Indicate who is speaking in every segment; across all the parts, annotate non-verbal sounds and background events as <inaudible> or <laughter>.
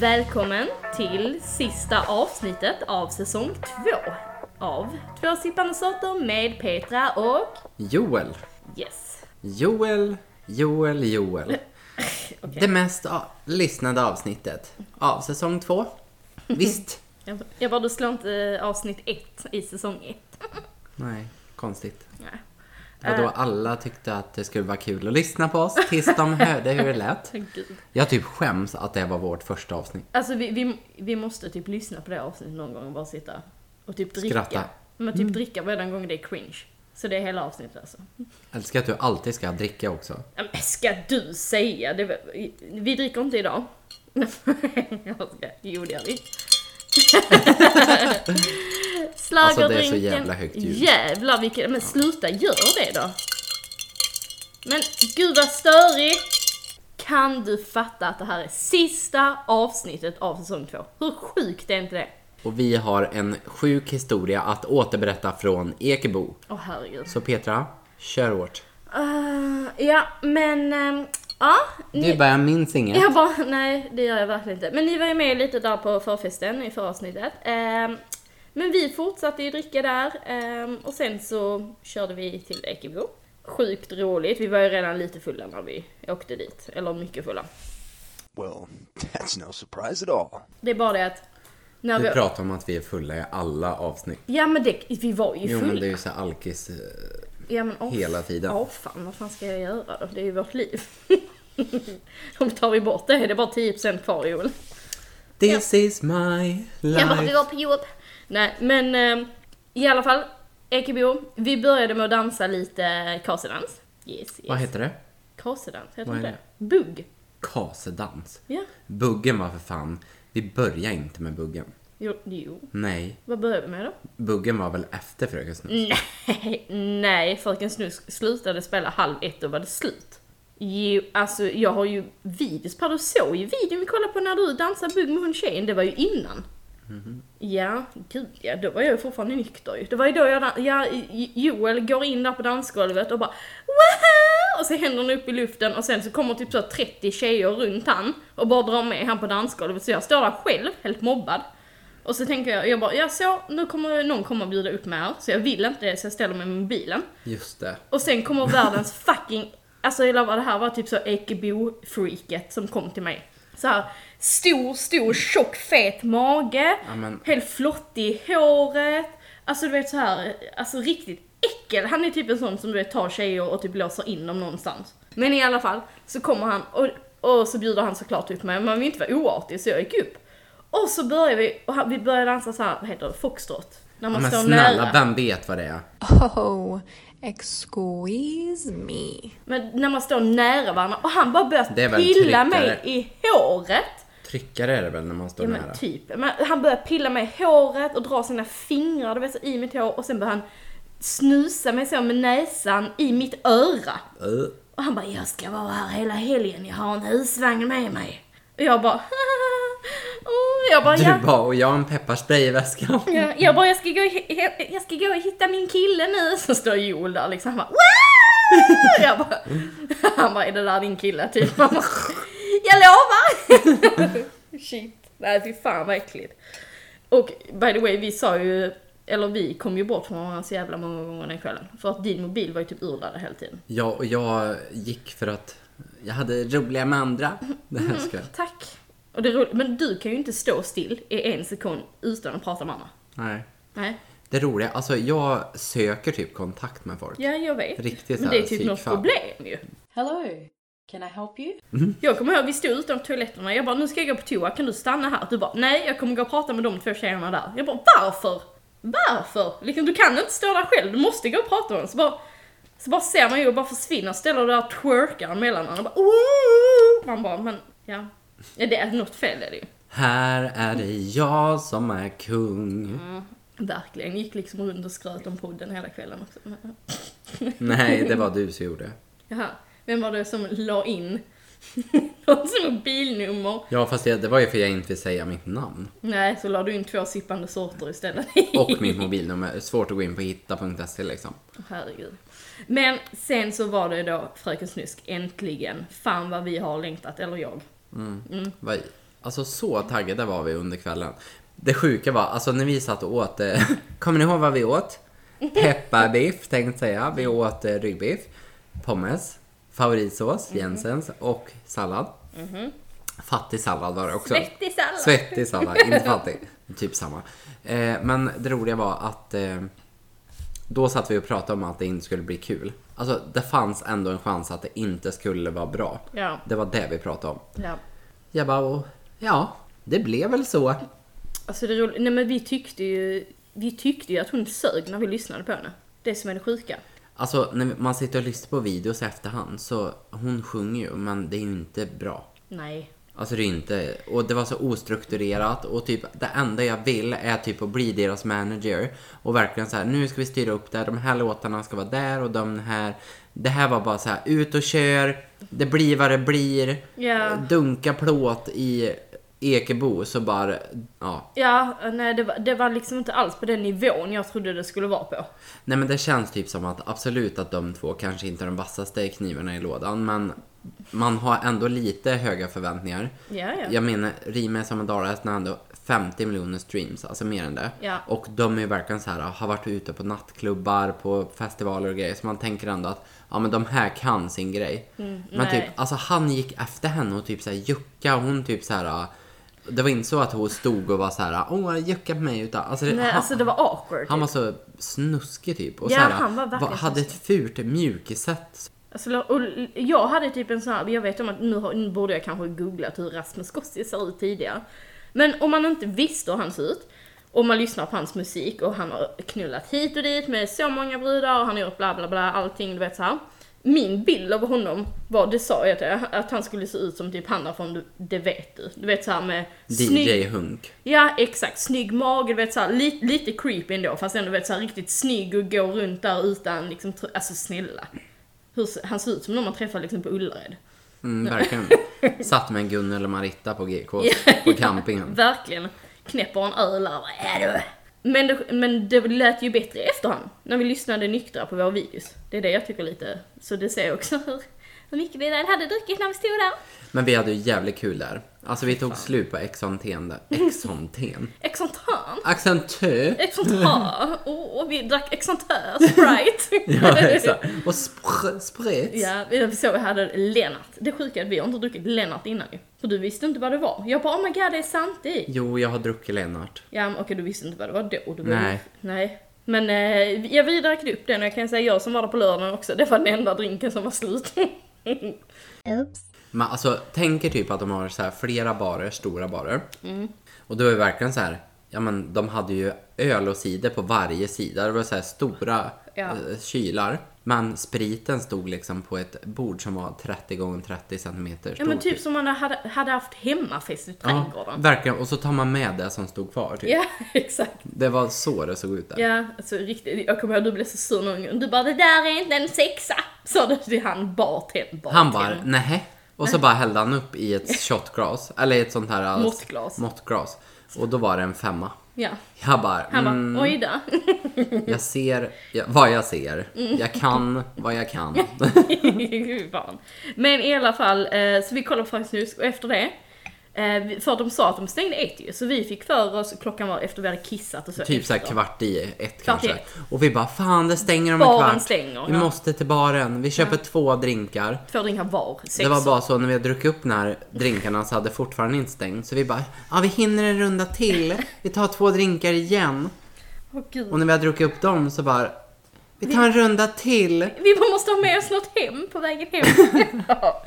Speaker 1: Välkommen till sista avsnittet av säsong två av Två sippande sorter med Petra och
Speaker 2: Joel.
Speaker 1: Yes.
Speaker 2: Joel, Joel, Joel.
Speaker 1: Okej.
Speaker 2: Det mest a- lyssnade avsnittet av säsong två.
Speaker 1: <laughs>
Speaker 2: Visst?
Speaker 1: Jag- Jag bara, du slår inte eh, avsnitt ett i säsong ett.
Speaker 2: Nej, konstigt.
Speaker 1: Nej. Eh.
Speaker 2: Och då alla tyckte att det skulle vara kul att lyssna på oss tills de hörde hur det lät.
Speaker 1: Åh, Gud.
Speaker 2: Jag typ skäms att det var vårt första avsnitt.
Speaker 1: Alltså vi, vi, vi måste typ lyssna på det avsnittet någon gång och bara sitta och typ dricka.
Speaker 2: Skratta.
Speaker 1: Men typ dricka varje gång det är cringe. Så det är hela avsnittet alltså.
Speaker 2: Älskar att du alltid ska dricka också.
Speaker 1: Ja, men Ska du säga? Det, var- vi dricker inte idag. <laughs> Jag ska- jo, det gör
Speaker 2: <laughs>
Speaker 1: vi. Schlagerdrinken.
Speaker 2: Alltså, det är så jävla högt ljud.
Speaker 1: Jävlar vilken... Men sluta, gör det då. Men gud vad störig. Kan du fatta att det här är sista avsnittet av säsong två? Hur sjukt är inte det?
Speaker 2: Och vi har en sjuk historia att återberätta från Ekebo.
Speaker 1: Åh herregud.
Speaker 2: Så Petra, kör hårt.
Speaker 1: Eh, ja, men... ehm, ja, ni-
Speaker 2: Du bara, jag minns inget.
Speaker 1: Jag bara, nej det gör jag verkligen inte. Men ni var ju med lite där på förfesten i förra avsnittet. Ehm, men vi fortsatte ju dricka där ehm, och sen så körde vi till Ekebo. Sjukt roligt, vi var ju redan lite fulla när vi åkte dit. Eller mycket fulla.
Speaker 3: Well, that's no surprise at all.
Speaker 1: Det är bara det att... När vi...
Speaker 2: Du pratar om att vi är fulla i alla avsnitt.
Speaker 1: Ja men det, vi var ju
Speaker 2: Jo
Speaker 1: fulla.
Speaker 2: men det är ju så här alkis... eh,
Speaker 1: ja, men, åh,
Speaker 2: hela tiden.
Speaker 1: Ja fan, vad fan ska jag göra då? Det är ju vårt liv. <laughs> Om tar vi bort det, det är bara 10% kvar Joel.
Speaker 2: This is my
Speaker 1: Jag bara, vi
Speaker 2: life.
Speaker 1: går på jobb. Nej, men eh, i alla fall. Ekebo, vi började med att dansa lite kasedans. Yes, yes.
Speaker 2: Vad heter det?
Speaker 1: Kasedans, heter
Speaker 2: vad
Speaker 1: det
Speaker 2: är
Speaker 1: det? Bugg.
Speaker 2: Kasedans.
Speaker 1: Ja.
Speaker 2: Buggen var för fan... Vi börjar inte med buggen.
Speaker 1: Jo, jo.
Speaker 2: Nej,
Speaker 1: Vad började vi med då?
Speaker 2: buggen var väl efter Fröken Snus?
Speaker 1: Mm. Nej, nej, Fröken Snusk slutade spela halv ett och var det slut. Jo, alltså jag har ju videos på det. Du såg ju videon vi kollade på när du dansade bugg med hon tjejen. Det var ju innan. Ja, gud ja, då var jag ju fortfarande nykter ju. Det var ju då jag, dan- ja, J- Joel går in där på dansgolvet och bara Woohoo! Och så händerna upp i luften och sen så kommer typ så 30 tjejer runt han och bara drar med han på dansgolvet. Så jag står där själv, helt mobbad. Och så tänker jag, jag bara, ja så, nu kommer någon komma och bjuda upp mig här. Så jag vill inte det, så jag ställer mig med mobilen.
Speaker 2: Just det.
Speaker 1: Och sen kommer
Speaker 2: <laughs>
Speaker 1: världens fucking, alltså jag lovar det här var typ så Ekebo-freaket som kom till mig. Så här stor, stor, tjock, fet mage,
Speaker 2: Ja, men-
Speaker 1: helt flottig i håret. Alltså du vet så här, alltså riktigt äckel. Han är typ en sån som du vet tar tjejer och typ låser in dem någonstans. Men i alla fall så kommer han och, och så bjuder han såklart upp mig, man vill inte vara oartig så jag gick upp. Och så börjar vi, och han- vi börjar dansa så här, vad heter det, foxtrot? När
Speaker 2: Ja,
Speaker 1: man
Speaker 2: men
Speaker 1: står
Speaker 2: snälla,
Speaker 1: nära.
Speaker 2: vem vet vad det är?
Speaker 4: Oh, excuse me.
Speaker 1: Men när man står nära varandra och han bara
Speaker 2: Det är
Speaker 1: börjar
Speaker 2: väl
Speaker 1: pilla mig
Speaker 2: tryckare.
Speaker 1: i håret.
Speaker 2: Tryckare är det väl när man står
Speaker 1: Ja
Speaker 2: nära?
Speaker 1: men typ. Men han börjar pilla mig i håret och dra sina fingrar du vet, så i mitt hår och sen börjar han snusa mig så med näsan i mitt öra.
Speaker 2: Ö,
Speaker 1: Och han bara jag ska vara här hela helgen, jag har en husvagn med mig. Och jag bara <laughs> oh, jag bara, ja,
Speaker 2: Du bara, och jag har en pepparspray i väskan. <laughs>
Speaker 1: ja, jag bara jag ska, gå, och hi- he- jag ska gå och hitta min kille nu. Så står Joel där liksom han bara "Wow!" jag bara, Han bara är det där din kille typ? Man bara, jag lovar! <laughs> Shit. Nej fy fan vad äckligt. Och by the way, vi sa ju, eller vi kom ju bort från varandra så jävla många gånger den kvällen. För att din mobil var ju typ urladdad hela tiden.
Speaker 2: Ja, och jag gick för att jag hade roliga med andra. Det
Speaker 1: <laughs>
Speaker 2: här ska jag.
Speaker 1: Tack. Och det är roligt, men du kan ju inte stå still i en sekund utan att prata med andra.
Speaker 2: Nej.
Speaker 1: Nej.
Speaker 2: Det roliga, alltså jag söker typ kontakt med folk.
Speaker 1: Ja, jag vet.
Speaker 2: Riktigt
Speaker 1: men
Speaker 2: så
Speaker 1: det
Speaker 2: här
Speaker 1: är typ något
Speaker 2: psykfall. Mm-hmm.
Speaker 1: problem ju.
Speaker 5: Hello, can I help you?
Speaker 1: Jag kommer ihåg, vi stod utanför toaletterna, jag bara nu ska jag gå på toa, kan du stanna här? Du bara nej, jag kommer gå och prata med de två tjejerna där. Jag bara varför? Varför? Liksom, du kan inte stå där själv, du måste gå och prata med dem. Så bara, så bara ser man ju och bara försvinner, ställer du där och twerkar mellan varandra. Bara, "Ooh!" man bara men ja. ja det är något fel är det ju.
Speaker 2: Här är det jag som är kung.
Speaker 1: Verkligen, gick liksom runt och skröt om podden hela kvällen också. <laughs>
Speaker 2: Nej, det var du som gjorde.
Speaker 1: Jaha, vem var det som la in <laughs> någons mobilnummer?
Speaker 2: Ja, fast det, det var ju för jag inte vill säga mitt namn.
Speaker 1: Nej, så la du in två sippande sorter istället. <laughs>
Speaker 2: Och mitt mobilnummer. Svårt att gå in på hitta.se liksom.
Speaker 1: Herregud. Men sen så var det då Fröken Snusk, äntligen. Fan vad vi har längtat, eller jag.
Speaker 2: Vad, Alltså så taggade var vi under kvällen. Det sjuka var, alltså när vi satt och åt, eh, <laughs> kommer ni ihåg vad vi åt? Pepparbiff tänkte säga. Vi åt eh, ryggbiff, pommes, favoritsås,
Speaker 1: Mhm.
Speaker 2: Jensens och sallad. Fattig sallad var det också.
Speaker 1: Svettig sallad.
Speaker 2: Svettig sallad,
Speaker 1: <laughs>
Speaker 2: inte fattig. Typ samma. Eh, men det roliga var att eh, då satt vi och pratade om att det inte skulle bli kul. Alltså det fanns ändå en chans att det inte skulle vara bra.
Speaker 1: Ja.
Speaker 2: Det var det vi pratade om.
Speaker 1: Ja.
Speaker 2: Jag bara, och, ja, det blev väl så.
Speaker 1: Alltså det roliga, nej men vi tyckte ju, vi tyckte ju att hon sög när vi lyssnade på henne. Det som är det sjuka.
Speaker 2: Alltså när man sitter och lyssnar på videos i efterhand så hon sjunger ju men det är ju inte bra.
Speaker 1: Nej.
Speaker 2: Alltså det är inte, och det var så ostrukturerat och typ det enda jag vill är typ att bli deras manager och verkligen så här, nu ska vi styra upp det här, de här låtarna ska vara där och de här, det här var bara så här, ut och kör, det blir vad det blir,
Speaker 1: Ja.
Speaker 2: dunka plåt i Ekebo så bara, ja,
Speaker 1: Ja, nej det var, det var liksom inte alls på den nivån jag trodde det skulle vara på.
Speaker 2: Nej men det känns typ som att absolut att de två kanske inte är de vassaste knivarna i lådan men man har ändå lite höga förväntningar.
Speaker 1: Ja, ja.
Speaker 2: Jag menar, Rime som en dalahäst har ändå 50 miljoner streams, alltså mer än det.
Speaker 1: Ja.
Speaker 2: Och de är ju verkligen så här, har varit ute på nattklubbar, på festivaler och grejer så man tänker ändå att ja men de här kan sin grej. men
Speaker 1: Mm, nej.
Speaker 2: typ, alltså han gick efter henne och typ så här jucka och hon typ så här det var inte så att hon stod och var så här, åh jucka på mig utan alltså, det-
Speaker 1: Nej,
Speaker 2: han-
Speaker 1: alltså det var awkward.
Speaker 2: han var så snuskig typ. Och
Speaker 1: Ja,
Speaker 2: så här,
Speaker 1: han var verkligen
Speaker 2: va- hade ett fult mjukissätt.
Speaker 1: Alltså, och jag hade typ en sån här, jag vet om att nu, har, nu borde jag kanske googlat hur Rasmus Gossi ser ut tidigare. Men om man inte visste hur han ser ut, och man lyssnar på hans musik och han har knullat hit och dit med så många brudar och han har gjort bla bla bla, allting du vet så här. Min bild av honom var, det sa jag till er, att han skulle se ut som typ han där från Du- Det vet du. Du vet såhär med snygg-
Speaker 2: DJ Hunk.
Speaker 1: Ja, exakt. Snygg mage, du vet såhär, li- lite creepy ändå, fast ändå vet såhär riktigt snygg och går runt där utan liksom, tr- alltså snälla. Hur, se- han ser ut som någon man träffar liksom på Ullared. <laughs>
Speaker 2: Mm, verkligen. Satt med Gunnel och Maritta på GK på
Speaker 1: <laughs>
Speaker 2: campingen.
Speaker 1: Verkligen. Knäpper en öl där, vad är du? Men det, men det lät ju bättre i efterhand, när vi lyssnade nyktra på våra videos. Det är det jag tycker lite, så det ser jag också hur, hur mycket vi väl hade druckit när vi stod där.
Speaker 2: Men vi hade ju jävligt kul där. Alltså vi tog slut på exonten där. Exonten?
Speaker 1: Exantan.
Speaker 2: Accentö?
Speaker 1: <laughs>
Speaker 2: <laughs>
Speaker 1: Exantan. Åh, vi drack exantör, Sprite.
Speaker 2: Ja, exakt. Och spr- sprit.
Speaker 1: Ja, det var så vi hade Lennart. Det sjuka är att vi har inte druckit Lennart innan ju. För du visste inte vad det var. Jag bara oh my god det är sant i.
Speaker 2: Jo, jag har druckit Lennart.
Speaker 1: Ja men okej du visste inte vad det var då. Du var
Speaker 2: Nej.
Speaker 1: Nej. Men eh, jag vi drack upp den och jag kan säga jag som var där på lördagen också, det var den enda drinken som var slut. <laughs>
Speaker 2: Men alltså, tänker typ att de har så här flera barer, stora barer.
Speaker 1: Mm.
Speaker 2: Och det var ju verkligen så här, ja men de hade ju öl och cider på varje sida. Det var så här stora
Speaker 1: Ja.
Speaker 2: eh, kylar. Men spriten stod liksom på ett bord som var 30 gånger 30 centimeter
Speaker 1: ja
Speaker 2: stort.
Speaker 1: men typ som man hade, hade haft hemmafest i
Speaker 2: Ja,
Speaker 1: trädgården.
Speaker 2: verkligen. Och så tar man med det som stod kvar. Typ.
Speaker 1: Ja, <laughs> exakt.
Speaker 2: Det var så det såg ut där.
Speaker 1: Ja, alltså riktigt. Jag kommer ihåg du blev så sur någon gång. Du bara det där är inte en sexa. Sa du till han bartend- bartendern.
Speaker 2: Han bara, nähä. Och så bara hällde han upp
Speaker 1: <laughs>
Speaker 2: i ett shotglas, eller ett sånt här... eh,
Speaker 1: Måttglas.
Speaker 2: måttglas. Och då var det en femma.
Speaker 1: Ja.
Speaker 2: Jag bara,
Speaker 1: Han
Speaker 2: mm,
Speaker 1: bara oj då.
Speaker 2: Jag ser jag, vad jag ser. Jag kan vad jag kan.
Speaker 1: <laughs> Fy fan. Men i alla fall, eh, så vi kollade på Frank Snusk och efter det, eh, vi- för de sa att de stängde ett ju, så vi fick för oss, klockan var efter vi hade kissat och så.
Speaker 2: Typ såhär
Speaker 1: efter.
Speaker 2: kvart i ett
Speaker 1: Kvart i
Speaker 2: kanske.
Speaker 1: ett.
Speaker 2: Och vi bara, fan det stänger om en
Speaker 1: Baren
Speaker 2: kvart.
Speaker 1: stänger,
Speaker 2: vi
Speaker 1: ja.
Speaker 2: måste till baren. Vi köper två drinkar.
Speaker 1: Två drinkar var, sex.
Speaker 2: Det var bara så när vi hade druckit upp den här drinkarna så hade det fortfarande inte stängt. Så vi bara, ja vi hinner en runda till. Vi tar två drinkar igen.
Speaker 1: Åh, gud.
Speaker 2: Och när vi hade druckit upp dem så bara, vi tar en runda till.
Speaker 1: Vi bara måste ha med oss något hem på vägen hem.
Speaker 2: <laughs>
Speaker 1: ja.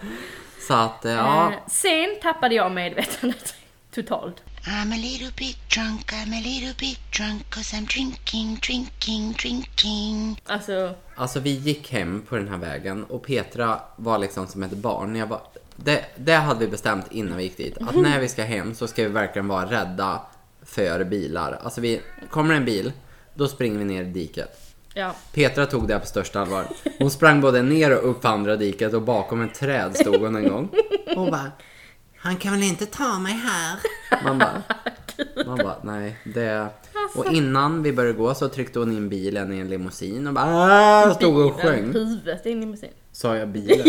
Speaker 2: Så att eh, ja,
Speaker 1: Eh, Sen tappade jag medvetandet totalt.
Speaker 6: I'm a little bit drunk, I'm a little bit drunk, cause I'm drinking, drinking, drinking.
Speaker 1: Alltså,
Speaker 2: Alltså vi gick hem på den här vägen och Petra var liksom som ett barn. Jag bara, det, det hade vi bestämt innan vi gick dit. Att när vi ska hem så ska vi verkligen vara rädda för bilar. Alltså vi, kommer en bil, då springer vi ner i diket.
Speaker 1: ja.
Speaker 2: Petra tog det här på största allvar. Hon sprang både ner och upp på andra diket och bakom ett träd stod hon en gång. Hon bara, han kan väl inte ta mig här? Man bara, man bara nej, det...
Speaker 1: Han
Speaker 2: Och innan vi började gå så tryckte hon in bilen i en limousin och bara "Ah", stod och
Speaker 1: Bilen,
Speaker 2: sjöng.
Speaker 1: Huvudet i en limousin.
Speaker 2: Sa jag
Speaker 1: <laughs>
Speaker 2: bilen?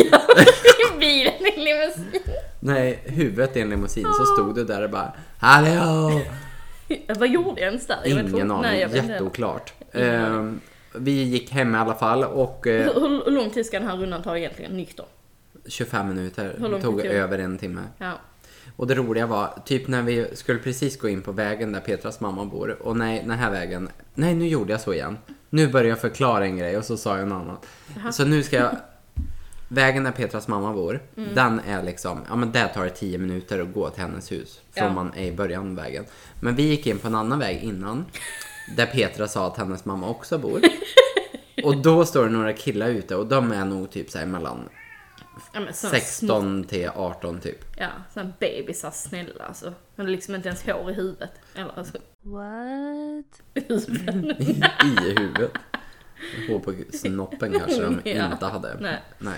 Speaker 1: Bilen i en limousin.
Speaker 2: Nej, huvudet i en limousin. Så stod du där och bara Hallå!
Speaker 1: Vad gjorde jag ens där? Jag vet inte.
Speaker 2: Ingen aning,
Speaker 1: Nej, jag vet inte.
Speaker 2: jätteoklart.
Speaker 1: Ingen
Speaker 2: Ehm, vi gick hem i alla fall och eh,
Speaker 1: Hur, hur hur lång tid ska den här rundan ta egentligen nykter?
Speaker 2: 25 minuter.
Speaker 1: Hur lång
Speaker 2: Det tog
Speaker 1: tid tog det?
Speaker 2: över en timme.
Speaker 1: Ja.
Speaker 2: Och det roliga var, typ när vi skulle precis gå in på vägen där Petras mamma bor. Och nej, den här vägen. Nej, nu gjorde jag så igen. Nu började jag förklara en grej och så sa jag en annan. Så nu ska jag... Vägen där Petras mamma bor, den är liksom, ja men där tar det 10 minuter att gå till hennes hus. Från
Speaker 1: Ja.
Speaker 2: man är i början av vägen. Men vi gick in på en annan väg innan. Där Petra sa att hennes mamma också bor. Och då står det några killar ute och de är nog typ såhär mellan
Speaker 1: Ja, men sån små-
Speaker 2: 16 till 18 typ.
Speaker 1: Ja, sån bebisar snälla alltså. De har liksom inte ens hår i huvudet. Eller alltså,
Speaker 4: What?
Speaker 1: huvudet.
Speaker 2: i huvudet. Hår på snoppen kanske de
Speaker 1: <laughs> Ja.
Speaker 2: inte hade.
Speaker 1: Nej.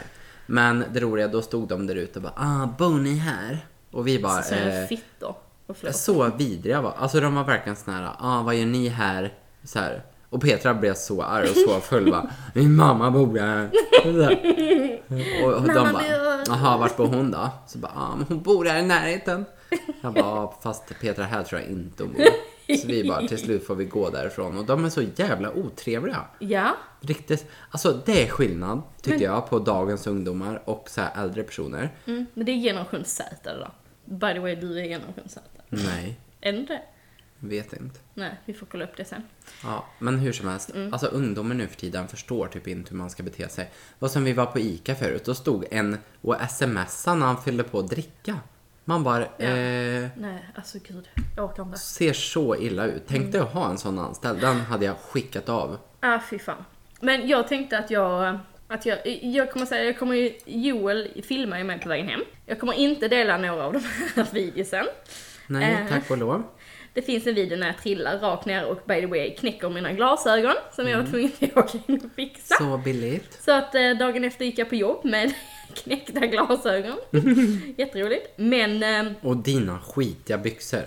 Speaker 2: Men det roliga, då stod de där ute och bara ah, bor ni här? Och vi bara,
Speaker 1: Såna
Speaker 2: eh,
Speaker 1: fittor. Och förlåt.
Speaker 2: så vidriga var Alltså de var verkligen såna här, ah, vad gör ni här? Så här. Och Petra blev så arg och så full bara, min mamma bor här. Så här. Och, och de
Speaker 1: Mamma
Speaker 2: bara,
Speaker 1: bor-
Speaker 2: jaha vart bor hon då? Så bara, ah, men hon bor här i närheten. Jag bara, ah, fast Petra här tror jag inte hon bor. Så vi bara, till slut får vi gå därifrån. Och de är så jävla otrevliga.
Speaker 1: Ja,
Speaker 2: Riktigt. Alltså det är skillnad tycker jag på dagens ungdomar och så här äldre personer.
Speaker 1: mm. men det är generation Z det där. By the way, du är generation Z.
Speaker 2: Nej,
Speaker 1: Är du inte det?
Speaker 2: vet inte.
Speaker 1: Nej, vi får kolla upp det sen.
Speaker 2: Ja, men hur som helst.
Speaker 1: Mm.
Speaker 2: Alltså ungdomen nu för tiden förstår typ inte hur man ska bete sig. Vad som vi var på ICA förut, då stod en och smsade när han fyllde på att dricka. Man bara, eh,
Speaker 1: Nej, alltså gud. Jag orkar inte.
Speaker 2: ser så illa ut.
Speaker 1: Mm.
Speaker 2: Tänkte jag ha en sån anställd, den hade jag skickat av.
Speaker 1: Ah, fy fan. Men jag tänkte att jag... Att jag, jag kommer säga, jag kommer ju, Joel filmar ju mig på vägen hem. Jag kommer inte dela några av de här <laughs> videosen.
Speaker 2: Nej,
Speaker 1: Eh.
Speaker 2: tack och lov.
Speaker 1: Det finns en video när jag trillar rakt ner och by the way knäcker mina glasögon som jag var tvungen att åka in och fixa. Så,
Speaker 2: Mm. Så billigt.
Speaker 1: att eh, dagen efter gick jag på jobb med <laughs> knäckta
Speaker 2: <laughs>
Speaker 1: glasögon. Jätteroligt. Men eh,
Speaker 2: Och dina skitiga byxor.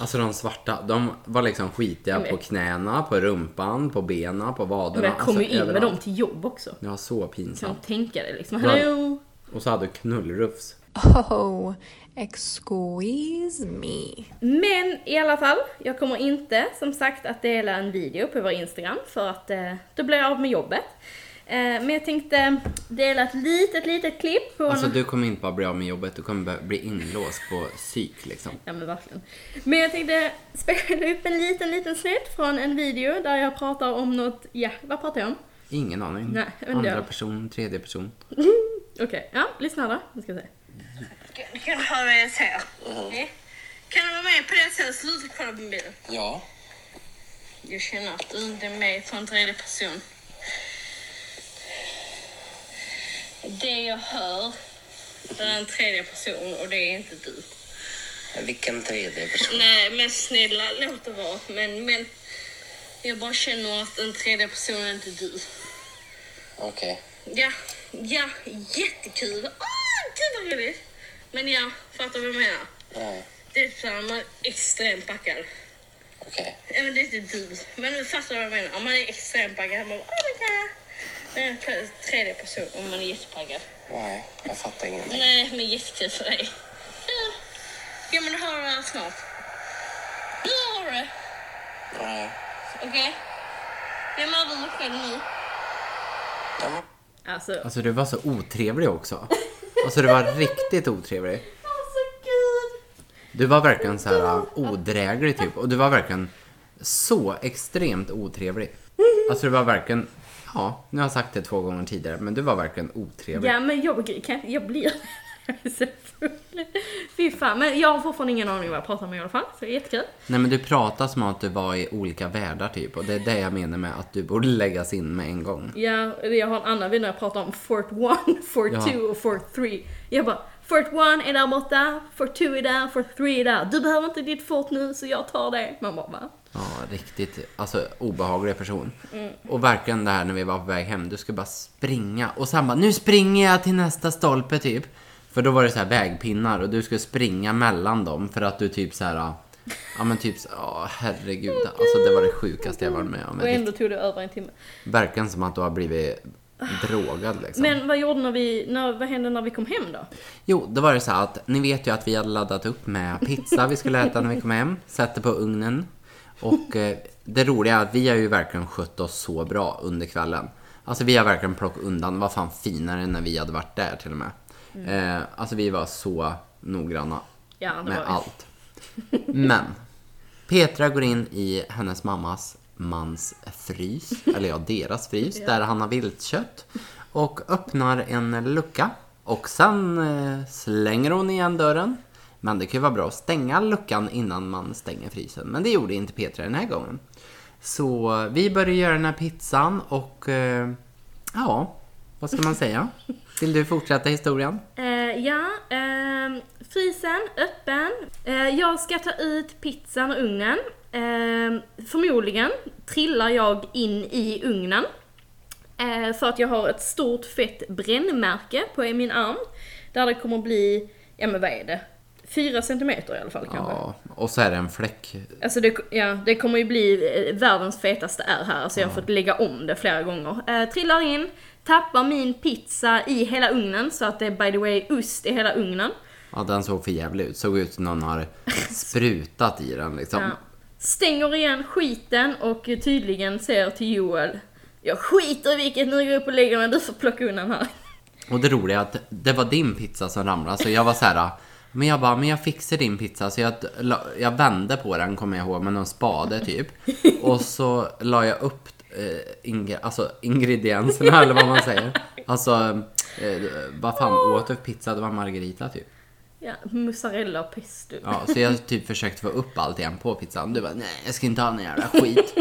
Speaker 2: Alltså de svarta, de var liksom skitiga
Speaker 1: Men-
Speaker 2: på knäna, på rumpan, på benen, på vaderna.
Speaker 1: jag kom ju
Speaker 2: alltså,
Speaker 1: in med dem
Speaker 2: överallt.
Speaker 1: till jobb också.
Speaker 2: Ja, så
Speaker 1: Kan
Speaker 2: pinsamt.
Speaker 1: du tänka dig liksom,
Speaker 2: Ja.
Speaker 1: hallå?
Speaker 2: Och så hade du knullrufs.
Speaker 4: Oh, excuse me.
Speaker 1: Men i alla fall, jag kommer inte som sagt att dela en video på vår Instagram för att eh, då blir jag av med jobbet. Eh, men jag tänkte dela ett litet, litet klipp från...
Speaker 2: Alltså du kommer inte bara bli av med jobbet, du kommer bara bli inlåst på psyk liksom.
Speaker 1: Ja men verkligen. Men jag tänkte spela upp en liten, liten snutt från en video där jag pratar om något, ja, vad pratar jag om?
Speaker 2: Ingen aning.
Speaker 1: Nej, men
Speaker 2: Andra
Speaker 1: då.
Speaker 2: person, tredje person.
Speaker 1: Okej, ja, lyssna då. Nu ska vi se.
Speaker 7: Kan du ha med så här? Mm. Kan du vara med på det sen? Sluta kolla på mobilen.
Speaker 8: Ja,
Speaker 7: Jag känner att du inte är med för en tredje person. Det jag hör, det är en tredje person och det är inte du.
Speaker 8: vilken tredje person?
Speaker 7: Nej, men snälla låt det vara. Men, men jag bara känner att en tredje person är inte du.
Speaker 8: Okej.
Speaker 7: Ja, ja, jättekul. Åh, gud vad roligt. Men ja, fattar du vad jag menar?
Speaker 8: Ja,
Speaker 7: Det är så här, man är extremt packad.
Speaker 8: okej.
Speaker 7: Ja, men det är inte du. Men nu fattar du vad jag menar. Om man är extremt packad, man bara oh my god. Men en pl- tredje person om man är jättepackad.
Speaker 8: Nej, jag fattar ingenting.
Speaker 7: Nej, men jättekul för dig. Ja. Ja, men du har det här snart. Du har det,
Speaker 8: Nej.
Speaker 7: okej? Vem är du med själv nu?
Speaker 8: Ja, men-
Speaker 1: Alltså,
Speaker 2: Alltså du var så otrevlig också. Alltså du var riktigt otrevlig.
Speaker 1: alltså gud!
Speaker 2: Du var verkligen så här äh, odräglig typ. Och du var verkligen så extremt otrevlig. Alltså du var verkligen, ja, nu har jag sagt det två gånger tidigare, men du var verkligen otrevlig.
Speaker 1: Ja men jag begri- kan jag blir <laughs> så full. Fy fan, men jag har fortfarande ingen aning vad jag pratar om i alla fall, så det är jättekul.
Speaker 2: Nej men du pratar som att du var i olika världar typ. Och det är det jag menar med att du borde läggas in med en gång.
Speaker 1: Ja, eller jag har en annan video när jag pratar om Fort 1, <laughs> Fort
Speaker 2: Ja.
Speaker 1: 2 och Fort 3. Jag bara, Fort 1 är där borta, Fort 2 är där, Fort 3 är där. Du behöver inte ditt fort nu så jag tar det. Man bara, va?
Speaker 2: Ja, riktigt alltså, obehaglig person.
Speaker 1: Mm.
Speaker 2: Och verkligen det här när vi var på väg hem, du skulle bara springa. Och sen bara, nu springer jag till nästa stolpe typ. För då var det så här vägpinnar och du skulle springa mellan dem för att du typ så här, Ja men typ så- ja herregud. Alltså det var det sjukaste jag varit med om.
Speaker 1: Och
Speaker 2: Det
Speaker 1: ändå tog det över en timme.
Speaker 2: verkar som att du har blivit drogad liksom.
Speaker 1: Men vad gjorde när vi, när, vad hände när vi kom hem då?
Speaker 2: Jo, då var det så här att ni vet ju att vi hade laddat upp med pizza vi skulle äta när vi kom hem. Satte på ugnen. Och eh, det roliga är att vi har ju verkligen skött oss så bra under kvällen. Alltså vi har verkligen plockat undan, vad fan finare än när vi hade varit där till och med. Eh, alltså vi var så noggranna
Speaker 1: Mm. Ja, det
Speaker 2: med
Speaker 1: var vi.
Speaker 2: allt. Men Petra går in i hennes mammas mans <laughs> frys, eller ja, deras frys, där han har viltkött. Och öppnar en lucka. Och sen eh, slänger hon igen dörren. Men det kan ju vara bra att stänga luckan innan man stänger frysen. Men det gjorde inte Petra den här gången. Så eh, vi började göra den här pizzan och eh, ja, vad ska man säga? Vill du fortsätta historien?
Speaker 1: Eh, ja, ehm, frysen öppen. Eh, jag ska ta ut pizzan och ugnen. Ehm, förmodligen trillar jag in i ugnen. Eh, för att jag har ett stort fett brännmärke på min arm. Där det kommer bli, ja men vad är det? Fyra centimeter i alla fall kanske.
Speaker 2: Ja, och så är det en fläck
Speaker 1: Alltså det, ja, det kommer ju bli eh, världens fetaste är här, så jag har fått lägga om det flera gånger. Eh, trillar in, tappar min pizza i hela ugnen, så att det är by the way ost i hela ugnen.
Speaker 2: Ja, den såg för jävlig ut. Såg ut som någon har sprutat i den liksom.
Speaker 1: Ja. Stänger igen skiten och tydligen säger till Joel Jag skiter i vilket, nu går jag upp och lägger mig, du får plocka undan här.
Speaker 2: Och det roliga är att det var din pizza som ramlade, så jag var så här. Men jag bara, men jag fixar din pizza. Så jag, la- jag vände på den, kommer jag ihåg, med någon spade typ. Och så la jag upp eh, ingre- alltså, ingredienserna, eller vad man säger. Alltså, eh, vad fan åt du för pizza? Det var margarita typ.
Speaker 1: Ja, mozzarella och pesto.
Speaker 2: Ja, så jag typ försökte få upp allt igen på pizzan. Du bara, nej jag ska inte ha någon jävla skit.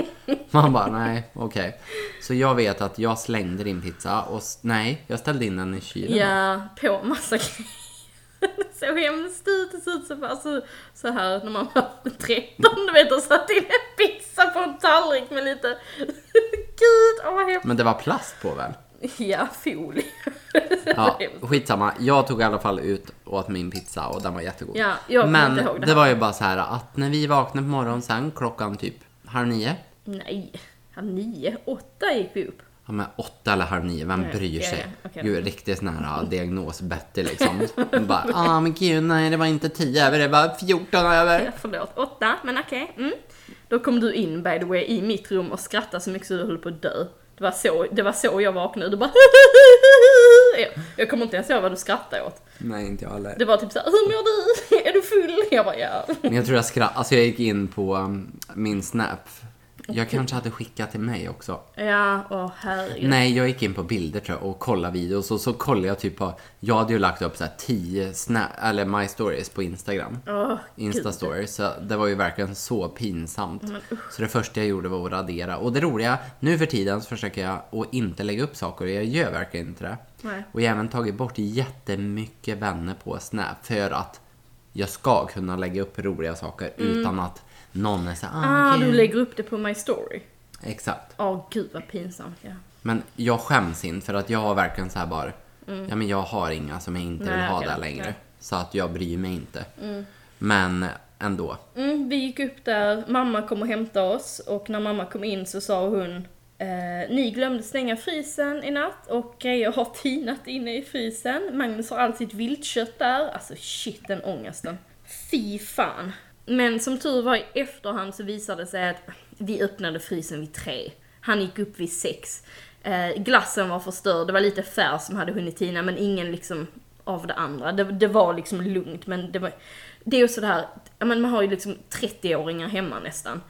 Speaker 2: Man bara, nej okej. Så jag vet att jag slängde din pizza och s- nej, jag ställde in den i kylen.
Speaker 1: Ja, på massa grejer. Det såg hemskt ut, det såg ut som alltså, så här när man var 13, du vet, och satte in en pizza på en tallrik med lite, gud, åh vad hemskt.
Speaker 2: Men det var plast på väl?
Speaker 1: Ja, folie.
Speaker 2: Ja, skitsamma. Jag tog i alla fall ut och åt min pizza och den var jättegod.
Speaker 1: Ja, jag kommer
Speaker 2: Men
Speaker 1: inte ihåg det
Speaker 2: det,
Speaker 1: här.
Speaker 2: var ju bara så här att när vi vaknade på morgonen sen klockan typ halv nio.
Speaker 1: <laughs> Nej, halv nio, åtta gick vi upp.
Speaker 2: Ja men åtta eller halv nio, vem
Speaker 1: Nej,
Speaker 2: bryr
Speaker 1: ja,
Speaker 2: sig?
Speaker 1: ja, okej.
Speaker 2: Gud, riktigt
Speaker 1: <laughs>
Speaker 2: sån här diagnos-Betty liksom. Hon bara, ah men gud nej det var inte tio över, det var fjorton över.
Speaker 1: Ja, <laughs> förlåt, åtta, men okej. Mm. Då kom du in by the way i mitt rum och skrattade så mycket så du höll på att dö. Det var så, det var så jag vaknade, du bara <laughs> Jag- Jag kommer inte ens ihåg vad du skrattade åt.
Speaker 2: Nej, inte jag heller.
Speaker 1: Det var typ såhär, hur mår du? <laughs> Är du full? Jag bara, ja.
Speaker 2: Men jag tror jag skrattade. Alltså jag gick in på um, min Snap. Jag kanske hade skickat till mig också.
Speaker 1: Ja, åh herregud.
Speaker 2: Nej, jag gick in på bilder tror jag och kollade videos och så kollade jag typ på, jag hade ju lagt upp så här 10 snap, eller my stories på Instagram.
Speaker 1: Åh,
Speaker 2: Insta
Speaker 1: gud.
Speaker 2: stories, så det var ju verkligen så pinsamt. Så det första jag gjorde var att radera. Och det roliga, nu för tiden så försöker jag att inte lägga upp saker och jag gör verkligen inte det.
Speaker 1: Nej.
Speaker 2: Och jag har även tagit bort jättemycket vänner på Snap för att jag ska kunna lägga upp roliga saker utan att någon är så här, ah,
Speaker 1: Mm. Ah,
Speaker 2: okej."
Speaker 1: du lägger upp det på My Story.
Speaker 2: Exakt.
Speaker 1: Åh gud vad pinsamt. Ja.
Speaker 2: Men jag skäms inte för att jag har verkligen så här bara, ja men jag har inga som jag inte
Speaker 1: Mm. Nej,
Speaker 2: vill ha
Speaker 1: okej. Mm.
Speaker 2: där längre.
Speaker 1: Nej.
Speaker 2: Så att jag bryr mig inte. Men ändå.
Speaker 1: Mm, vi gick upp där, mamma kom och hämtade oss och när mamma kom in så sa hon eh, Ni glömde stänga frysen i natt och grejer har <laughs> tinat inne i frysen. Magnus har allt sitt viltkött där. Alltså shit den ångesten. Fy fan. Men som tur var i efterhand så visade det sig att vi öppnade frysen vid tre. Han gick upp vid sex. Eh, glassen var förstörd, det var lite färs som hade hunnit tina men ingen liksom av det andra. Det, det var liksom lugnt men det var... Det är ju sådär, ja, men man har ju liksom 30-åringar hemma nästan.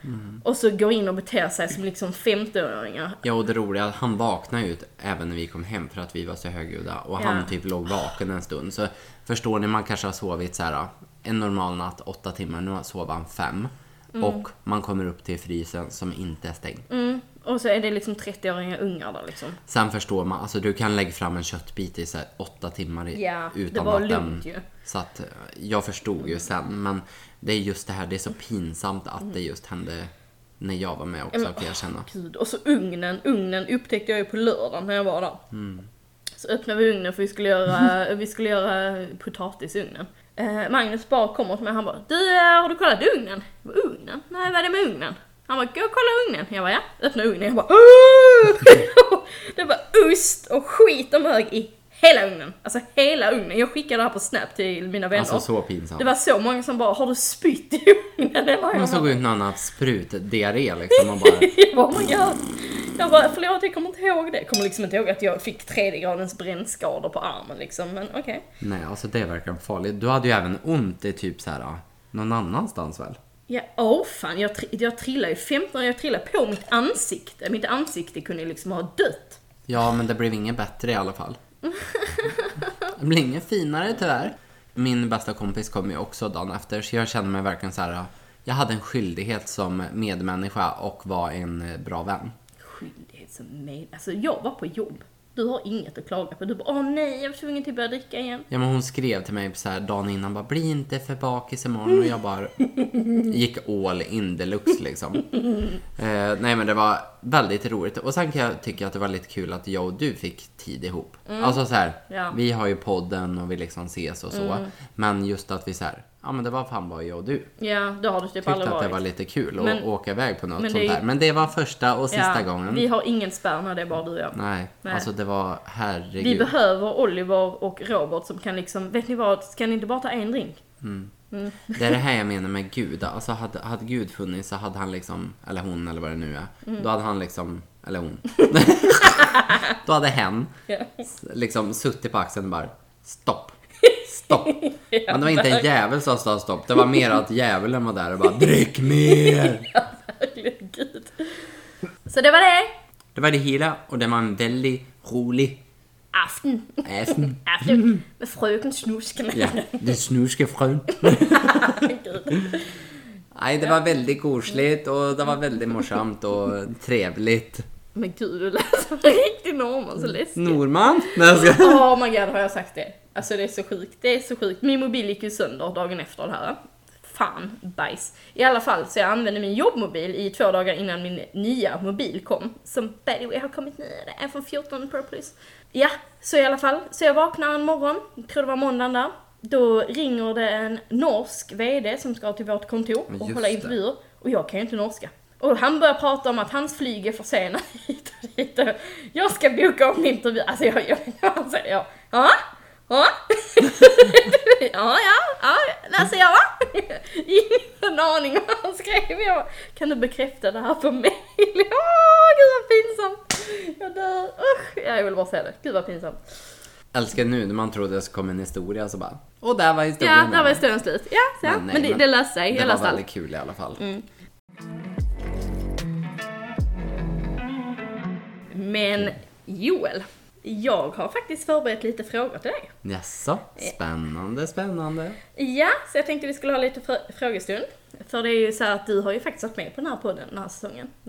Speaker 1: Och så går in och beter sig som liksom 50-åringar.
Speaker 2: Ja och det roliga, är att han vaknade ju ut även när vi kom hem för att vi var så högljudda och
Speaker 1: Ja.
Speaker 2: han typ låg vaken en stund. Så förstår ni, man kanske har sovit så här en normal natt åtta timmar, nu sov han fem.
Speaker 1: Mm.
Speaker 2: Och man kommer upp till frysen som inte är stängd.
Speaker 1: Och så är det liksom 30-åringar ungar där liksom.
Speaker 2: Sen förstår man, alltså du kan lägga fram en köttbit i så här åtta timmar i,
Speaker 1: Ja, det
Speaker 2: utan
Speaker 1: var
Speaker 2: att
Speaker 1: lugnt
Speaker 2: den...
Speaker 1: ju.
Speaker 2: Så att eh, jag förstod ju sen, men det är just det här, det är så pinsamt att det just hände när jag var med också kan jag känna.
Speaker 1: Gud, och så ugnen, ugnen upptäckte jag ju på lördagen när jag
Speaker 2: Mm.
Speaker 1: var
Speaker 2: <laughs>
Speaker 1: där. Så öppnade vi ugnen för vi skulle göra, vi skulle göra potatis i ugnen. Eh, Magnus bara kommer till mig han bara Du, eh, har du kollat ugnen? Jag bara, ugnen? Nej, vad är det med ugnen? Han bara, gå och kolla ugnen. Jag bara, ja. Öppna ugnen. Jag bara, "Åh!" <laughs> Det var ost och skit och mög i hela ugnen. Alltså hela ugnen. Jag skickade det här på Snap till mina vänner.
Speaker 2: Alltså så pinsamt.
Speaker 1: Det var så många som bara, har du spytt i ugnen? Eller vad?"
Speaker 2: Man
Speaker 1: Jag bara,
Speaker 2: såg ut någon haft sprutdiarré liksom och bara
Speaker 1: jag bara, <laughs> oh my god. Jag bara, förlåt jag kommer inte ihåg det. Jag kommer liksom inte ihåg att jag fick tredje gradens brännskador på armen liksom, men okej.
Speaker 2: Nej alltså det verkar farligt. Du hade ju även ont i typ så här ja, någon annanstans väl?
Speaker 1: Ja, åh fan, jag, tri- jag trillade ju 15, jag trillade på mitt ansikte. Mitt ansikte kunde ju liksom ha dött.
Speaker 2: Ja men det blev inget bättre i alla <laughs> fall. Det blev inget finare tyvärr. Min bästa kompis kom ju också dagen efter så jag kände mig verkligen så här. ja, Jag hade en skyldighet som medmänniska och var en eh, bra vän.
Speaker 1: Skyldighet som med... Alltså jag var på jobb. Du har inget att klaga på. Du bara, åh nej, jag var tvungen till att börja dricka igen.
Speaker 2: Ja, men hon skrev till mig så här dagen innan bara bli inte för bakis imorgon och jag bara gick all in
Speaker 1: <laughs>
Speaker 2: deluxe liksom. Eh, nej men det var väldigt roligt och sen kan jag tycka att det var lite kul att jag och du fick tid ihop. Alltså så här,
Speaker 1: Mm. Ja. Mm.
Speaker 2: vi har ju podden och vi liksom ses och så. Men just att vi så här, ja men det var fan bara jag och du.
Speaker 1: Ja, det har du typ
Speaker 2: Tyckte
Speaker 1: aldrig
Speaker 2: att det
Speaker 1: varit.
Speaker 2: var lite kul att
Speaker 1: Men-
Speaker 2: åka iväg på något
Speaker 1: men det är
Speaker 2: sånt
Speaker 1: ju-
Speaker 2: där. Men det var första och sista
Speaker 1: ja,
Speaker 2: gången.
Speaker 1: Vi har ingen spärr när det är bara du och jag.
Speaker 2: Nej,
Speaker 1: Nej.
Speaker 2: alltså det var herregud.
Speaker 1: Vi behöver Oliver och Robert som kan liksom, vet ni vad, ska ni inte bara ta en drink?
Speaker 2: Det är det här jag menar med Gud. Alltså hade, hade Gud funnits så hade han liksom, eller hon eller vad det nu är. Då hade han liksom, eller hon. då hade hen
Speaker 1: Ja.
Speaker 2: liksom suttit på axeln och bara stopp. Stopp. Men det var inte en jävel som sa stopp. Det var mer att djävulen var där och bara drick mer.
Speaker 1: Herregud. Så det var det.
Speaker 2: Det var det hela och det var en väldigt rolig
Speaker 1: Aften.
Speaker 2: afton.
Speaker 1: Aften. Med fröken Snusken. <laughs>
Speaker 2: Ja, den snuske frun.
Speaker 1: Herregud.
Speaker 2: Nej, det var väldigt gosligt och det var väldigt morsamt och trevligt.
Speaker 1: Men gud, du lät som en riktig norrman, så läskigt.
Speaker 2: Norman? Nej, jag ska...
Speaker 1: <laughs> Oh my god, har jag sagt det? Alltså det är så sjukt, det är så sjukt. Min mobil gick ju sönder dagen efter det här. Fan, bajs. I alla fall, så jag använde min jobbmobil i två dagar innan min nya mobil kom. Som by the way har kommit nu, det är iPhone 14 Pro Plus. Ja, så i alla fall. Så jag vaknar en morgon, jag tror det var måndagen där. Då ringer det en norsk VD som ska till vårt kontor och
Speaker 2: Just
Speaker 1: hålla
Speaker 2: det.
Speaker 1: intervjuer. Och jag kan ju inte norska. Och han börjar prata om att hans flyg är försenat <laughs> hit och dit. och Jag ska boka om intervju. Alltså jag, <laughs> jag, han säger ja. Ja, ja. <laughs> Ja, ja, ja, läser jag <laughs> va? Ingen aning vad han skrev. Jag bara, kan du bekräfta det här på mig? <laughs> Åh, gud vad pinsamt. Jag dör. Usch. Ja, jag vill bara säga det. Gud vad pinsamt.
Speaker 2: Älskar nu när man trodde det skulle komma en historia så bara Och där var historien
Speaker 1: Ja, där var
Speaker 2: över."
Speaker 1: historien slut. Ja, så ja.
Speaker 2: Men
Speaker 1: Men,
Speaker 2: nej,
Speaker 1: det,
Speaker 2: men
Speaker 1: det löste sig.
Speaker 2: Det
Speaker 1: Jag
Speaker 2: var
Speaker 1: löste allt. Mm.
Speaker 2: väldigt kul i alla fall
Speaker 1: Men Joel, jag har faktiskt förberett lite frågor till dig.
Speaker 2: Jaså?
Speaker 1: Eh.
Speaker 2: Spännande, spännande
Speaker 1: Ja, så jag tänkte vi skulle ha lite frå- frågestund. För det är ju så här att du har ju faktiskt varit med på den här podden den här säsongen. <laughs>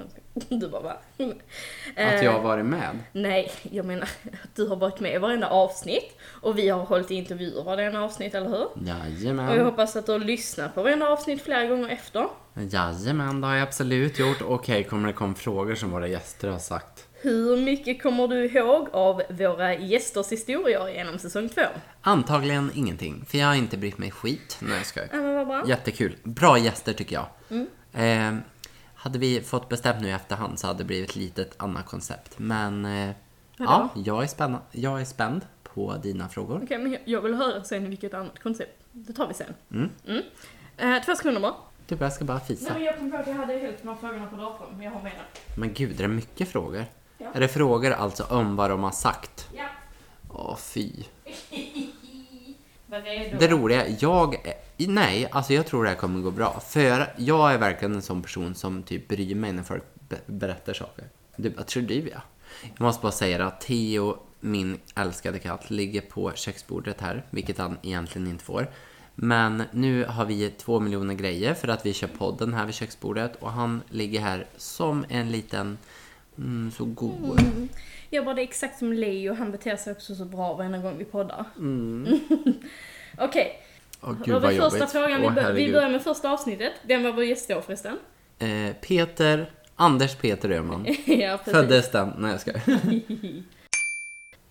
Speaker 1: Du bara va? Eh.
Speaker 2: Att jag har varit med
Speaker 1: Nej, jag menar <laughs> att du har varit med i varenda avsnitt och vi har hållit intervjuer varenda avsnitt, eller hur? Och jag
Speaker 2: Jajamän
Speaker 1: hoppas att du har lyssnat på varenda avsnitt flera gånger efter.
Speaker 2: Jajamän, det har jag absolut gjort Okej, kommer det komma frågor som våra gäster har sagt?
Speaker 1: Hur mycket kommer du ihåg av våra gästers historier genom säsong två?
Speaker 2: Antagligen ingenting, för jag har inte brytt mig skit Nej, jag skojar
Speaker 1: Ja, men vad bra. Mm.
Speaker 2: Jättekul. Bra gäster tycker jag. Eh, hade vi fått bestämt nu i efterhand så hade det blivit lite ett annat koncept. Men eh, ja, jag är, spänna, jag är spänd på dina frågor.
Speaker 1: Okej, men jag- jag vill höra sen vilket annat koncept. Det tar vi sen. Mm. Eh, två sekunder bara.
Speaker 2: Du, Typ, jag ska bara fisa.
Speaker 1: jag kom på att jag hade hälften av frågorna på datorn, men jag har med den.
Speaker 2: Men gud, det är mycket frågor. Är det frågor alltså om vad de har sagt?
Speaker 1: Ja.
Speaker 2: Åh, fy.
Speaker 1: Var redo.
Speaker 2: Det roliga, jag... är- Nej, alltså jag tror det här kommer gå bra. För jag är verkligen en sån person som typ bryr mig när folk be- berättar saker. Du bara, tror du ja? Jag måste bara säga att Theo, min älskade katt, ligger på köksbordet här, vilket han egentligen inte får. Men nu har vi två miljoner grejer för att vi kör podden här vid köksbordet och han ligger här som en liten... Mm, så god.
Speaker 1: Jag bara, det är exakt som Leo, han beter sig också så bra varenda gång vi poddar. <laughs> Okej, då
Speaker 2: Åh, Mm. gud
Speaker 1: har
Speaker 2: vad
Speaker 1: vi första
Speaker 2: jobbigt.
Speaker 1: frågan. Vi,
Speaker 2: Åh,
Speaker 1: bör, vi
Speaker 2: herregud.
Speaker 1: börjar med första avsnittet. Den var vår gästår förresten. <laughs>
Speaker 2: Eh, Peter, Anders Peter Öhman.
Speaker 1: ja, precis.
Speaker 2: Föddes den? Nej jag skojar.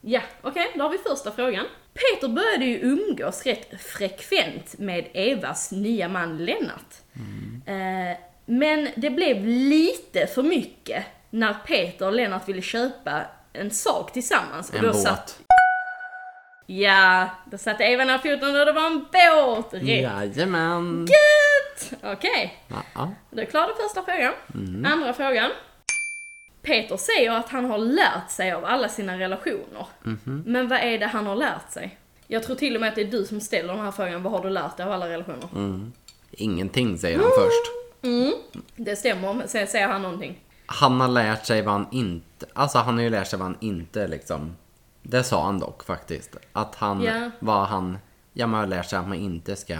Speaker 1: Ja, okej, då har vi första frågan. Peter började ju umgås rätt frekvent med Evas nya man Lennart. Eh, Men det blev lite för mycket när Peter och Lennart ville köpa en sak tillsammans. Och
Speaker 2: En
Speaker 1: då
Speaker 2: båt.
Speaker 1: Satt, ja, då satte Eva ner foten och det var en båt! Rätt
Speaker 2: Jajamän.
Speaker 1: Mm. gött! Okej.
Speaker 2: Ja.
Speaker 1: Då är klar den första frågan.
Speaker 2: Mm.
Speaker 1: Andra frågan. Peter säger att han har lärt sig av alla sina relationer.
Speaker 2: Mhm.
Speaker 1: Men vad är det han har lärt sig? Jag tror till och med att det är du som ställer den här frågan. Vad har du lärt dig av alla relationer?
Speaker 2: Mm. Ingenting säger han först.
Speaker 1: Det stämmer, men sen säger han någonting.
Speaker 2: Han har lärt sig vad han inte... Alltså han har ju lärt sig vad han inte liksom... Det sa han dock faktiskt. Att han...
Speaker 1: Ja.
Speaker 2: Vad han... Ja, man har lärt sig att man inte ska...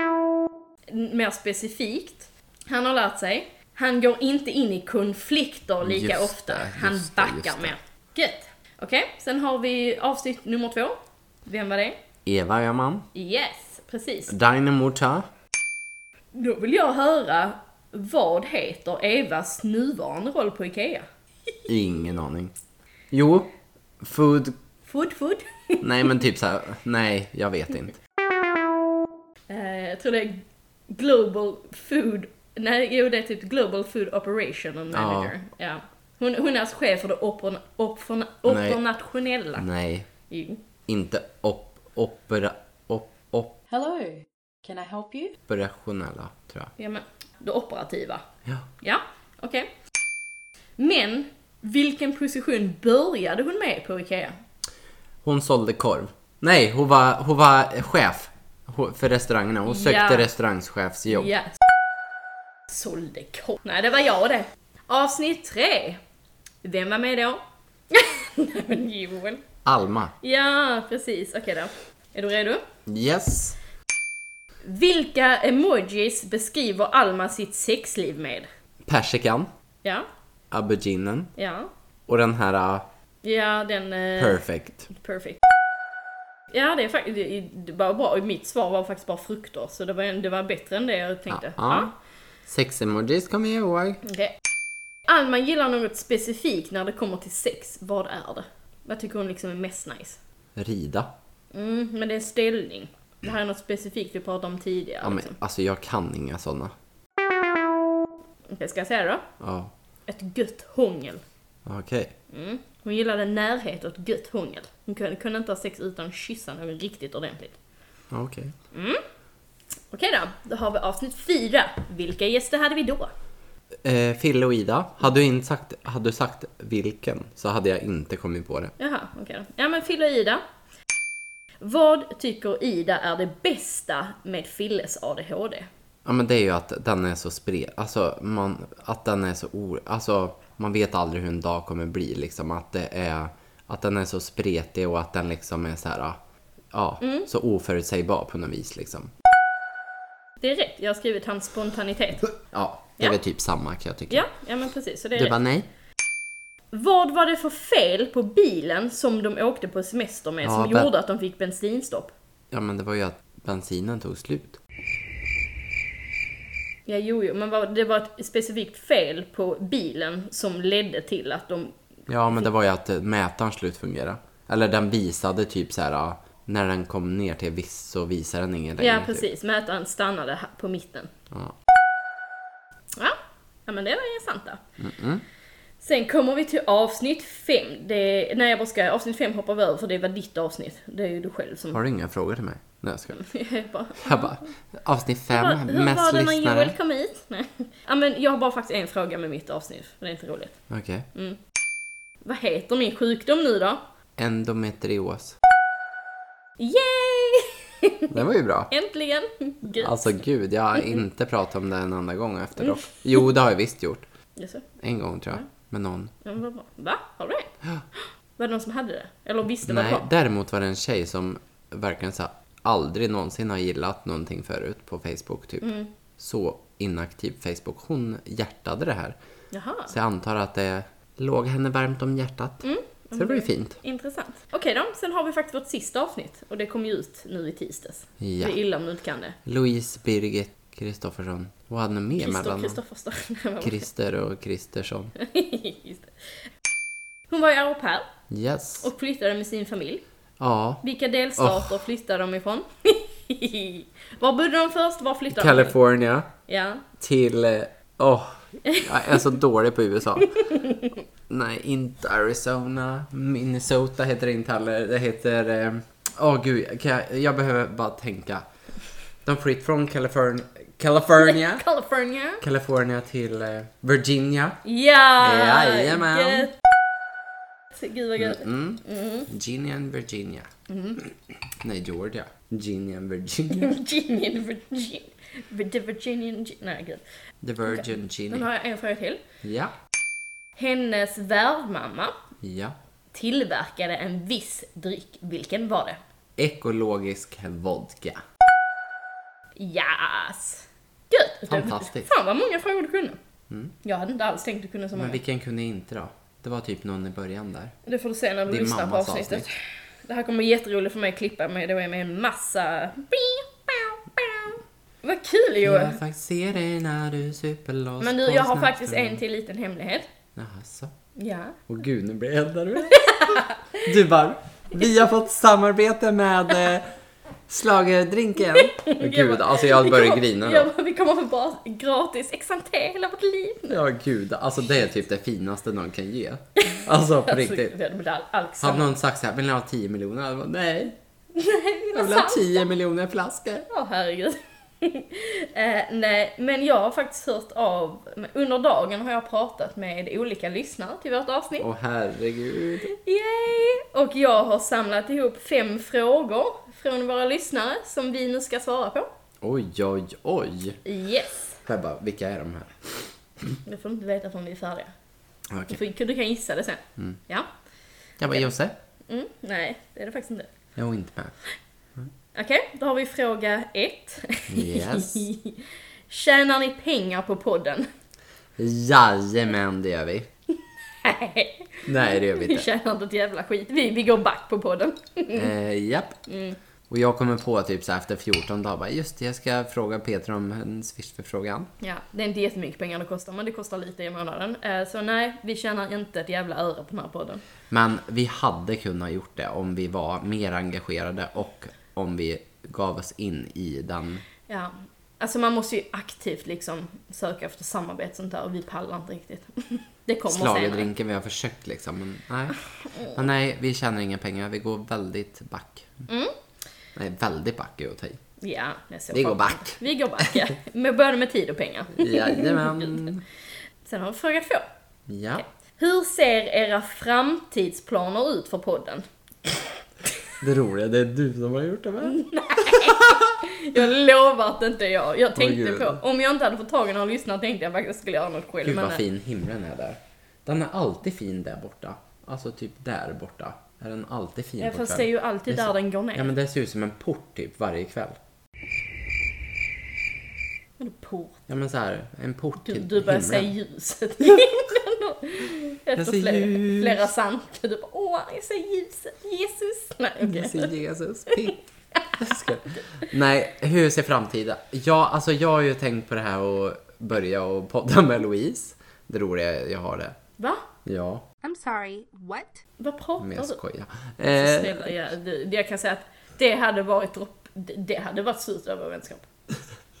Speaker 1: N- Mer specifikt. Han har lärt sig. Han går inte in i konflikter lika
Speaker 2: Just
Speaker 1: ofta.
Speaker 2: det, just
Speaker 1: han
Speaker 2: det, just
Speaker 1: backar
Speaker 2: det.
Speaker 1: mer. Gött. Okej, sen har vi avsnitt nummer två. Vem var det?
Speaker 2: Eva gör man.
Speaker 1: Yes, precis.
Speaker 2: Dynamorta.
Speaker 1: Då vill jag höra, vad heter Evas nuvarande roll på IKEA?
Speaker 2: Ingen aning. Jo. Food...
Speaker 1: Food, food. <laughs>
Speaker 2: Nej men typ så här. Nej, jag vet inte.
Speaker 1: Eh, jag tror det är Global Food... Nej, jo det är typ Global Food Operation Manager. Ja. Hon, hon är alltså chef för det oper, oper,
Speaker 2: Nej.
Speaker 1: operationella. Mm.
Speaker 2: Nej.
Speaker 1: Jo.
Speaker 2: Inte op... Opera... Op,
Speaker 5: Hello. Can I help you?
Speaker 2: operationella, tror jag.
Speaker 1: Ja, men det operativa.
Speaker 2: Ja.
Speaker 1: Ja, okej. Men, vilken position började hon med på IKEA?
Speaker 2: Hon sålde korv. Nej, hon var, hon var chef ho- för restaurangerna. Hon sökte
Speaker 1: Ja.
Speaker 2: restaurangchefsjobb.
Speaker 1: Ja. Sålde korv. Nej, det var jag det. Avsnitt tre. Vem var med då? <laughs> Nej, men Joel.
Speaker 2: Alma.
Speaker 1: Ja, precis. Okej då. Är du redo?
Speaker 2: Yes.
Speaker 1: Vilka emojis beskriver Alma sitt sexliv med?
Speaker 2: Persikan.
Speaker 1: Ja,
Speaker 2: Auberginen.
Speaker 1: ja,
Speaker 2: Och den här uh,
Speaker 1: ja den... eh,
Speaker 2: perfect.
Speaker 1: perfect. Ja, det är faktiskt... Det var bra. Mitt svar var faktiskt bara frukter, så det var, det var bättre än det jag tänkte.
Speaker 2: Ja. Sex-emojis kommer jag ihåg.
Speaker 1: Okej. Alma gillar något specifikt när det kommer till sex. Vad är det? Vad tycker hon liksom är mest nice?
Speaker 2: Rida.
Speaker 1: Mm, men det är en ställning. Det här är något specifikt vi pratade om tidigare.
Speaker 2: Ja, men,
Speaker 1: liksom.
Speaker 2: alltså jag kan inga sådana.
Speaker 1: Okej, ska jag säga det då?
Speaker 2: Ja,
Speaker 1: Ett gött hångel. Mm.
Speaker 2: okej.
Speaker 1: Hon gillade närhet och ett gött hångel. Hon kunde, kunde inte ha sex utan att kyssa någon riktigt ordentligt.
Speaker 2: Ja, Okej.
Speaker 1: Okej då, då har vi avsnitt fyra. Vilka gäster hade vi då?
Speaker 2: Eh, Fille och Ida. Hade du, inte sagt, hade du sagt vilken så hade jag inte kommit på det.
Speaker 1: Jaha, okej då. Ja men Fille och Ida. Vad tycker Ida är det bästa med Filles ADHD?
Speaker 2: Ja men det är ju att den är så spred, alltså man, att den är så o, alltså man vet aldrig hur en dag kommer bli liksom att det är, att den är så spretig och att den liksom är så här, ja,
Speaker 1: Mm.
Speaker 2: så oförutsägbar på något vis liksom.
Speaker 1: Det är rätt, jag har skrivit hans spontanitet.
Speaker 2: Ja, det
Speaker 1: Ja.
Speaker 2: är väl typ samma kan jag tycka.
Speaker 1: Ja, ja men precis, så det är
Speaker 2: Du
Speaker 1: rätt.
Speaker 2: bara nej?
Speaker 1: Vad var det för fel på bilen som de åkte på semester med
Speaker 2: Ja,
Speaker 1: som
Speaker 2: men-
Speaker 1: gjorde att de fick bensinstopp?
Speaker 2: Ja men det var ju att bensinen tog slut.
Speaker 1: Ja, jo, jo, men vad- det var ett specifikt fel på bilen som ledde till att de...
Speaker 2: Ja men det var ju att eh, mätaren slut fungerade. Eller den visade typ så här, ja, när den kom ner till viss så visade den ingen längre.
Speaker 1: Ja,
Speaker 2: typ.
Speaker 1: precis. Mätaren stannade här på mitten.
Speaker 2: Ja.
Speaker 1: Ja, ja men det var intressant då. Sen kommer vi till avsnitt fem. Det, nej, jag bara ska, avsnitt fem hoppar vi över för det var ditt avsnitt. Det är ju du själv som...
Speaker 2: Har du inga frågor till mig? Nej jag skojar.
Speaker 1: <laughs> Jag bara,
Speaker 2: Jag bara, avsnitt
Speaker 1: Vad-
Speaker 2: fem,
Speaker 1: Hur
Speaker 2: mest
Speaker 1: var det när Joel
Speaker 2: lyssnare.
Speaker 1: kom hit? Nej. Ja, men jag har bara faktiskt en fråga med mitt avsnitt, för det är inte roligt.
Speaker 2: Okej.
Speaker 1: Vad heter min sjukdom nu då?
Speaker 2: Endometrios.
Speaker 1: Yay! <laughs>
Speaker 2: Det var ju bra.
Speaker 1: Äntligen! Gud.
Speaker 2: Alltså gud, jag har inte pratat om det en enda gång
Speaker 1: Mm.
Speaker 2: efteråt. Jo, det har jag visst gjort.
Speaker 1: Jaså?
Speaker 2: En gång tror jag.
Speaker 1: Mm.
Speaker 2: Med någon.
Speaker 1: Ja, men vad bra. Va? Har du det? <gasps> Var det någon som hade det? Eller visste vad det
Speaker 2: Nej,
Speaker 1: var?
Speaker 2: däremot var det en tjej som verkligen så här, aldrig någonsin har gillat någonting förut på Facebook typ.
Speaker 1: Mm.
Speaker 2: Så inaktiv Facebook. Hon hjärtade det här.
Speaker 1: Jaha, Mm.
Speaker 2: Så jag antar att det låg henne varmt om hjärtat. Så det var ju fint.
Speaker 1: intressant. Okej då, sen har vi faktiskt vårt sista avsnitt och det kom ju ut nu i tisdags.
Speaker 2: Ja.
Speaker 1: Det är illa om du inte kan det.
Speaker 2: Louise Birgit Kristoffersson. Vad hade ni mer
Speaker 1: Christer,
Speaker 2: mellan?
Speaker 1: Kristoffer <laughs> Stark.
Speaker 2: Christer och Kristersson.
Speaker 1: Hon var ju au pair
Speaker 2: Yes.
Speaker 1: och flyttade med sin familj.
Speaker 2: Ja.
Speaker 1: Vilka delstater flyttade de ifrån? <laughs> var bodde de först? Var flyttade de? ifrån?
Speaker 2: California
Speaker 1: Ja.
Speaker 2: till... eh, Åh, jag är så dålig på USA. Nej, inte Arizona. Minnesota heter det inte heller. Det heter... eh, Åh gud, kan jag, jag behöver bara tänka. De flytt från California, California,
Speaker 1: California.
Speaker 2: California till eh, Virginia.
Speaker 1: Ja!
Speaker 2: Jajamän.
Speaker 1: gött. Gud vad gött.
Speaker 2: Mm. Virginia and Virginia. Nej, Georgia. Virginia and Virginia.
Speaker 1: Virginian, Virgin... The Virginian... Nej gud.
Speaker 2: The Virgin
Speaker 1: Nu
Speaker 2: Virginia.
Speaker 1: har jag en fråga till.
Speaker 2: Ja,
Speaker 1: Hennes värdmamma
Speaker 2: ja.
Speaker 1: tillverkade en viss dryck. Vilken var det?
Speaker 2: Ekologisk vodka.
Speaker 1: Yes! Gött!
Speaker 2: Fantastiskt. Mm.
Speaker 1: Fan vad många frågor du kunde. Jag hade inte alls tänkt att kunna så
Speaker 2: Men
Speaker 1: många.
Speaker 2: vilken kunde jag inte då? Det var typ någon i början där.
Speaker 1: Det får du se när du
Speaker 2: Din
Speaker 1: lyssnar på
Speaker 2: mammas
Speaker 1: avsnittet.
Speaker 2: avsnitt.
Speaker 1: Det här kommer bli jätteroligt för mig att klippa men det är med en massa... Vad kul Joel!
Speaker 2: Jag faktiskt ser dig när du super loss
Speaker 1: Men du,
Speaker 2: på
Speaker 1: jag har
Speaker 2: Snapchat.
Speaker 1: faktiskt en till liten hemlighet.
Speaker 2: Jaså?
Speaker 1: Ja.
Speaker 2: Åh gud, nu blir jag eldad. Du bara, vi har fått samarbete med eh, Schlagerdrinken.
Speaker 1: <laughs>
Speaker 2: Åh gud, alltså jag börjar grina
Speaker 1: Ja,
Speaker 2: då.
Speaker 1: men vi kommer få bara gratis exanté hela vårt liv.
Speaker 2: Ja gud, alltså det är typ det finaste någon kan ge. Alltså på
Speaker 1: <laughs>
Speaker 2: riktigt.
Speaker 1: Alltså, det är allt
Speaker 2: Hade
Speaker 1: samma.
Speaker 2: någon sagt såhär, vill ni ha 10 miljoner? Jag bara, Nej,
Speaker 1: Nej,
Speaker 2: jag vill ha 10 miljoner flaskor.
Speaker 1: Ja, herregud. <laughs> eh, nej, men jag har faktiskt hört av, under dagen har jag pratat med olika lyssnare till vårt avsnitt.
Speaker 2: Åh herregud.
Speaker 1: Yay! Och jag har samlat ihop fem frågor från våra lyssnare som vi nu ska svara på.
Speaker 2: Oj, oj, oj.
Speaker 1: Yes!
Speaker 2: Jag bara, vilka är de här?
Speaker 1: Det får du inte veta förrän vi är färdiga. Du,
Speaker 2: Okej.
Speaker 1: får, du kan gissa det sen.
Speaker 2: Mm.
Speaker 1: Ja.
Speaker 2: Jag bara, Jose?
Speaker 1: Mm, nej, det är det faktiskt inte.
Speaker 2: Jag är inte med.
Speaker 1: Okej, då har vi fråga ett.
Speaker 2: Yes.
Speaker 1: <laughs> Tjänar ni pengar på podden?
Speaker 2: Jajamän, det gör vi.
Speaker 1: Nej,
Speaker 2: Nej, det gör vi
Speaker 1: vi <laughs>
Speaker 2: inte.
Speaker 1: tjänar inte ett jävla skit. Vi, vi går back på podden. <laughs>
Speaker 2: Eh, japp. Och jag kommer på typ så här efter 14 dagar, bara, just det, jag ska fråga Peter om en Swish-förfrågan.
Speaker 1: Ja, det är inte jättemycket pengar det kostar, men det kostar lite i månaden. Eh, Så nej, vi tjänar inte ett jävla öre på den här podden.
Speaker 2: Men vi hade kunnat gjort det om vi var mer engagerade och om vi gav oss in i den.
Speaker 1: Ja. Alltså man måste ju aktivt liksom söka efter samarbete och sånt där och vi pallar inte riktigt. <laughs> Det kommer senare.
Speaker 2: Schlagerdrinken vi har försökt liksom. Men nej. men nej, vi tjänar inga pengar. Vi går väldigt back. Nej, väldigt back är att ta i.
Speaker 1: Ja, det är så
Speaker 2: Vi går
Speaker 1: skönt.
Speaker 2: back.
Speaker 1: Vi går back, ja. Men både med tid och pengar.
Speaker 2: <laughs> Jajamän.
Speaker 1: Sen har vi fråga två.
Speaker 2: Ja.
Speaker 1: Hur ser era framtidsplaner ut för podden?
Speaker 2: Det roliga, det är du som har gjort det va?
Speaker 1: Mm. Jag lovar att det inte är jag. Jag tänkte
Speaker 2: gud.
Speaker 1: på, om jag inte hade fått tag i någon lyssnare tänkte jag faktiskt skulle göra något själv. eh,
Speaker 2: Gud vad
Speaker 1: nej.
Speaker 2: fin himlen är där. Den är alltid fin där borta. Alltså typ där borta. Är den alltid fin
Speaker 1: Ja,
Speaker 2: på
Speaker 1: fast det
Speaker 2: kvällen.
Speaker 1: är ju alltid
Speaker 2: är
Speaker 1: där
Speaker 2: så-
Speaker 1: den går ner.
Speaker 2: Ja men det ser ut som en port typ varje kväll.
Speaker 1: Vadå port?
Speaker 2: Ja men så här, en port
Speaker 1: Du,
Speaker 2: till
Speaker 1: du börjar
Speaker 2: himlen.
Speaker 1: se ljuset. <laughs> Efter
Speaker 2: ser
Speaker 1: flera,
Speaker 2: ljus.
Speaker 1: flera samtal. Du bara åh, jag ser ljuset. Jesus. Nej,
Speaker 2: <laughs>
Speaker 1: okej.
Speaker 2: Jag ser Jesus pick. Jag skojar. Nej, hur ser framtiden? Ja, alltså jag har ju tänkt på det här och börja och podda med Louise. Det roliga är, jag har det.
Speaker 1: Va?
Speaker 2: Ja,
Speaker 4: I'm sorry, what?
Speaker 1: Vad pratar
Speaker 2: men
Speaker 1: du?
Speaker 2: jag skojar.
Speaker 1: Så
Speaker 2: Eh,
Speaker 1: snälla, jag, det, det- jag kan säga att det hade varit dropp, det, det hade varit slut över vänskap.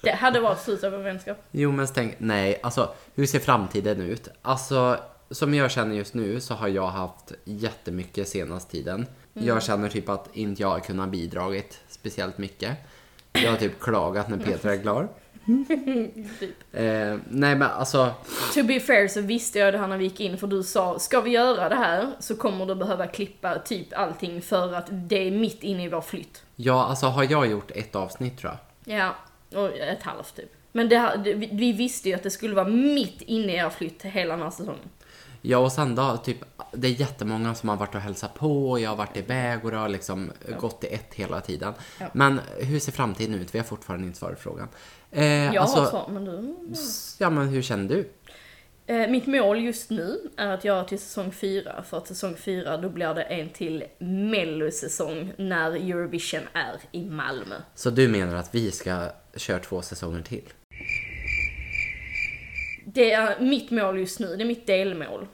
Speaker 1: Det hade varit slut över vänskap.
Speaker 2: Jo men tänk, nej alltså hur ser framtiden ut? Alltså som jag känner just nu så har jag haft jättemycket senaste tiden.
Speaker 1: Mm.
Speaker 2: Jag känner typ att inte jag har kunnat bidragit speciellt mycket. Jag har typ klagat när Petra
Speaker 1: <laughs>
Speaker 2: är klar.
Speaker 1: Typ.
Speaker 2: Eh, nej men alltså,
Speaker 1: To be fair så visste jag det här när vi gick in för du sa ska vi göra det här så kommer du behöva klippa typ allting för att det är mitt inne i vår flytt.
Speaker 2: ja alltså har jag gjort ett avsnitt tror jag?
Speaker 1: Ja, och ett halvt typ. Men det, här- det, vi vi visste ju att det skulle vara mitt inne i er flytt hela den här säsongen.
Speaker 2: Ja och sen då, typ, det är jättemånga som har varit och hälsat på och jag har varit iväg och det har liksom gått i ett hela tiden. Men hur ser framtiden ut? Vi har fortfarande inte svarat på frågan. Eh,
Speaker 1: Jag
Speaker 2: alltså,
Speaker 1: har svar, men du...
Speaker 2: Ja, men hur känner du?
Speaker 1: Eh, mitt mål just nu är att göra till säsong 4, för att säsong 4 då blir det en till mellosäsong när Eurovision är i Malmö.
Speaker 2: Så du menar att vi ska köra två säsonger till?
Speaker 1: Det är mitt mål just nu, det är mitt delmål.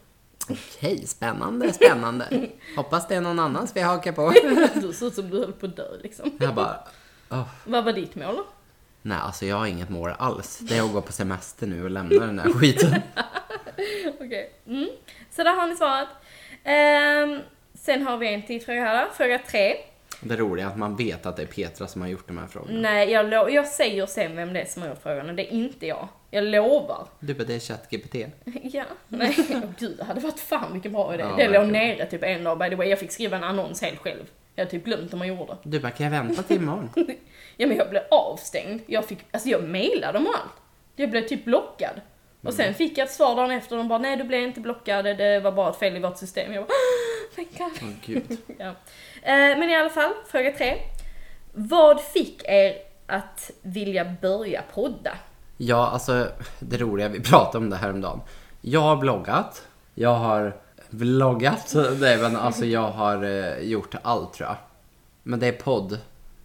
Speaker 1: <laughs>
Speaker 2: Okej, spännande, <laughs> spännande. Hoppas det är någon annan vi hakar på.
Speaker 1: Du ser ut som du höll på att dö liksom.
Speaker 2: Jag bara, "Åh,
Speaker 1: Vad var ditt mål då? <laughs>
Speaker 2: nej alltså jag har inget mål alls. Det är att gå på semester nu och lämna den där skiten.
Speaker 1: Okej. Mm. Så där har ni svaret. Ehm, sen har vi en till fråga här då. Fråga tre.
Speaker 2: Det roliga är att man vet att det är Petra som har gjort de här frågorna.
Speaker 1: Nej, jag, lo- jag säger sen vem det är som har gjort frågan och det är inte jag. Jag lovar.
Speaker 2: Du bara, det är ChatGPT.
Speaker 1: Ja, <laughs> nej. Åh gud, det hade varit fan mycket bra idé.
Speaker 2: Ja,
Speaker 1: det låg
Speaker 2: verkligen.
Speaker 1: nere typ en dag by the way. Jag fick skriva en annons helt själv. Jag hade typ glömt hur man gjorde. <laughs>
Speaker 2: Du bara, kan jag vänta till imorgon?
Speaker 1: Ja men jag blev avstängd. Jag fick, alltså jag mejlade dem och allt. Jag blev typ blockad. Och
Speaker 2: Mm.
Speaker 1: sen fick jag ett svar dagen efter och de bara nej du blev inte blockad, det var bara ett fel i vårt system. Jag bara "Ah, thank God.
Speaker 2: Åh, gud.
Speaker 1: <laughs> ja. eh, men i alla fall, fråga tre. Vad fick er att vilja börja podda?
Speaker 2: Ja, alltså det roliga, vi pratade om det här om dagen. Jag har bloggat, jag har vloggat, nej men alltså jag har eh, gjort allt tror jag. Men det är podd,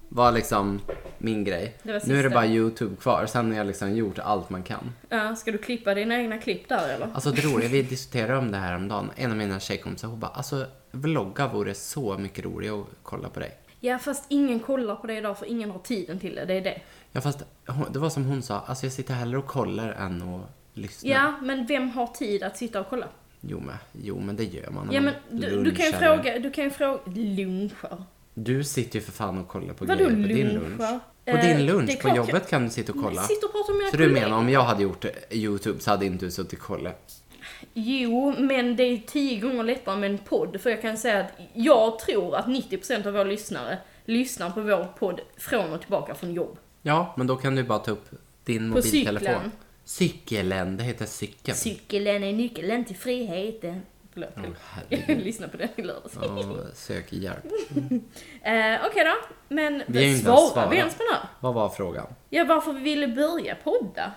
Speaker 2: var liksom min grej.
Speaker 1: Det var
Speaker 2: Nu är det
Speaker 1: sista.
Speaker 2: bara YouTube kvar, sen har jag liksom gjort allt man kan.
Speaker 1: Ja, ska du klippa dina egna klipp där eller?
Speaker 2: Alltså det roliga, vi diskuterade om det här om dagen. En av mina tjejkompisar, hon bara, alltså vlogga vore så mycket roligare att kolla på dig.
Speaker 1: Ja fast ingen kollar på det idag för ingen har tiden till det, det är det.
Speaker 2: Ja fast hon, det var som hon sa, alltså jag sitter hellre och kollar än att lyssna.
Speaker 1: Ja, men vem har tid att sitta och kolla?
Speaker 2: Jo, men, jo men det gör man. när
Speaker 1: Ja
Speaker 2: man
Speaker 1: men du, du kan ju
Speaker 2: lunchar.
Speaker 1: fråga, du kan ju fråga, luncher.
Speaker 2: Du sitter ju för fan och kollar på
Speaker 1: Vadå
Speaker 2: grejer på din lunch.
Speaker 1: lunch, va?
Speaker 2: På
Speaker 1: Eh,
Speaker 2: din
Speaker 1: det
Speaker 2: lunch
Speaker 1: är
Speaker 2: på
Speaker 1: klart jag-
Speaker 2: jobbet kan du sitta och kolla.
Speaker 1: Sitter och pratar med mina
Speaker 2: Så du
Speaker 1: kollegor.
Speaker 2: menar om jag hade gjort eh, Youtube så hade inte du suttit och kollat?
Speaker 1: Jo, men det är ju tio gånger lättare med en podd. För jag kan säga att jag tror att 90% av våra lyssnare lyssnar på vår podd från och tillbaka från jobb.
Speaker 2: Ja, men då kan du bara ta upp din
Speaker 1: På
Speaker 2: mobiltelefon.
Speaker 1: cykeln.
Speaker 2: Cykeln, det heter cykeln.
Speaker 1: Cykeln är nyckeln till friheten. Förlåt,
Speaker 2: Åh,
Speaker 1: jag
Speaker 2: herregud.
Speaker 1: lyssnade på den i lördags. Eh,
Speaker 2: Ja, sök hjälp.
Speaker 1: Okej då, men
Speaker 2: Vi har ju inte ens
Speaker 1: svarar
Speaker 2: svarat.
Speaker 1: vi ens på den här?
Speaker 2: Vad var frågan?
Speaker 1: Ja, varför vi ville börja podda?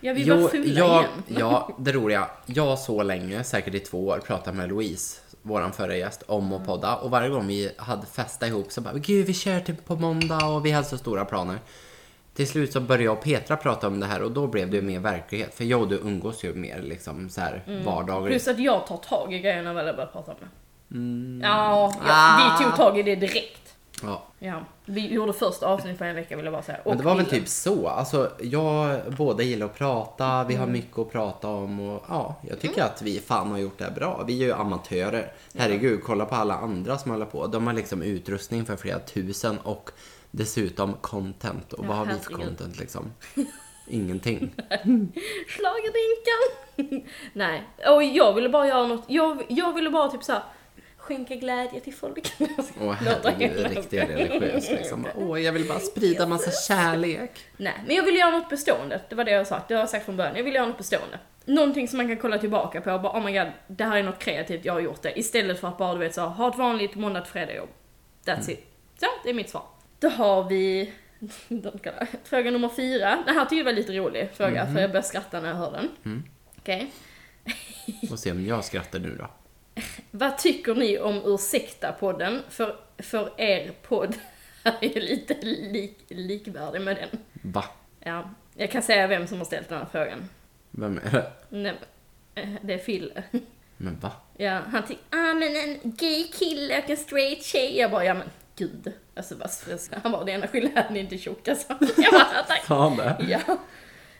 Speaker 1: Ja, vi var fulla
Speaker 2: jag,
Speaker 1: igen.
Speaker 2: <laughs> ja, det roliga. Jag så länge, säkert i två år, pratade med Louise, våran förra gäst, om
Speaker 1: Mm.
Speaker 2: att podda. Och varje gång vi hade festa ihop så bara, gud vi kör typ på måndag och vi hade så stora planer. Till slut så började jag och Petra prata om det här och då blev det ju mer verklighet. För jag och du umgås ju mer liksom så här vardagar.
Speaker 1: Mm. Plus att jag tar tag i grejerna när jag börjar prata om det.
Speaker 2: Mm.
Speaker 1: Ja, ja vi tog tag i det direkt.
Speaker 2: Ja.
Speaker 1: Ja, vi gjorde första avsnitt för en vecka vill jag bara säga.
Speaker 2: Men
Speaker 1: Och
Speaker 2: det var väl
Speaker 1: bilden.
Speaker 2: typ så. Alltså, jag, båda gillar att prata, vi
Speaker 1: Mm.
Speaker 2: har mycket att prata om och ja, jag tycker att vi fan har gjort det här bra. Vi är ju amatörer. Herregud, kolla på alla andra som håller på. De har liksom utrustning för flera tusen och dessutom content. Och vad har vi för
Speaker 1: herregud. <laughs>
Speaker 2: content liksom? Ingenting.
Speaker 1: Schlagerdinkan! <laughs> Nej, och jag ville bara göra något. Jag, jag ville bara typ såhär skänka glädje till folk. <laughs>
Speaker 2: Och
Speaker 1: Låta
Speaker 2: herregud,
Speaker 1: hela-
Speaker 2: riktigt
Speaker 1: <laughs>
Speaker 2: religiös liksom. Åh, jag vill bara sprida massa kärlek.
Speaker 1: Nej, men jag ville göra något bestående. Det var det jag sa. Det har jag sagt från början. Jag ville göra något bestående. Någonting som man kan kolla tillbaka på och bara oh my god, det här är något kreativt, jag har gjort det. Istället för att bara du vet såhär, ha ett vanligt måndag till fredag jobb. That's it. Så, det är mitt svar. Då har vi <laughs> de kallar- fråga nummer fyra. Den här tyckte jag var lite rolig fråga, för jag började skratta när jag hörde den. Okej.
Speaker 2: Och se om jag skrattar nu då.
Speaker 1: Vad tycker ni om Ursäkta-podden? För, för er podd <laughs> är ju lite lik, likvärdig med den.
Speaker 2: Va?
Speaker 1: Ja, jag kan säga vem som har ställt den här frågan.
Speaker 2: Vem är det?
Speaker 1: Nej, men, eh, det är Fille.
Speaker 2: Men va?
Speaker 1: <laughs> Ja, han tyckte ah men en gay kille och en straight tjej. Jag bara, ja men gud. Alltså vad stressigt. Han bara, det enda skillnaden är inte tjock alltså. <laughs> Jag bara,
Speaker 2: <laughs>
Speaker 1: tack.
Speaker 2: Sa han det?
Speaker 1: Ja.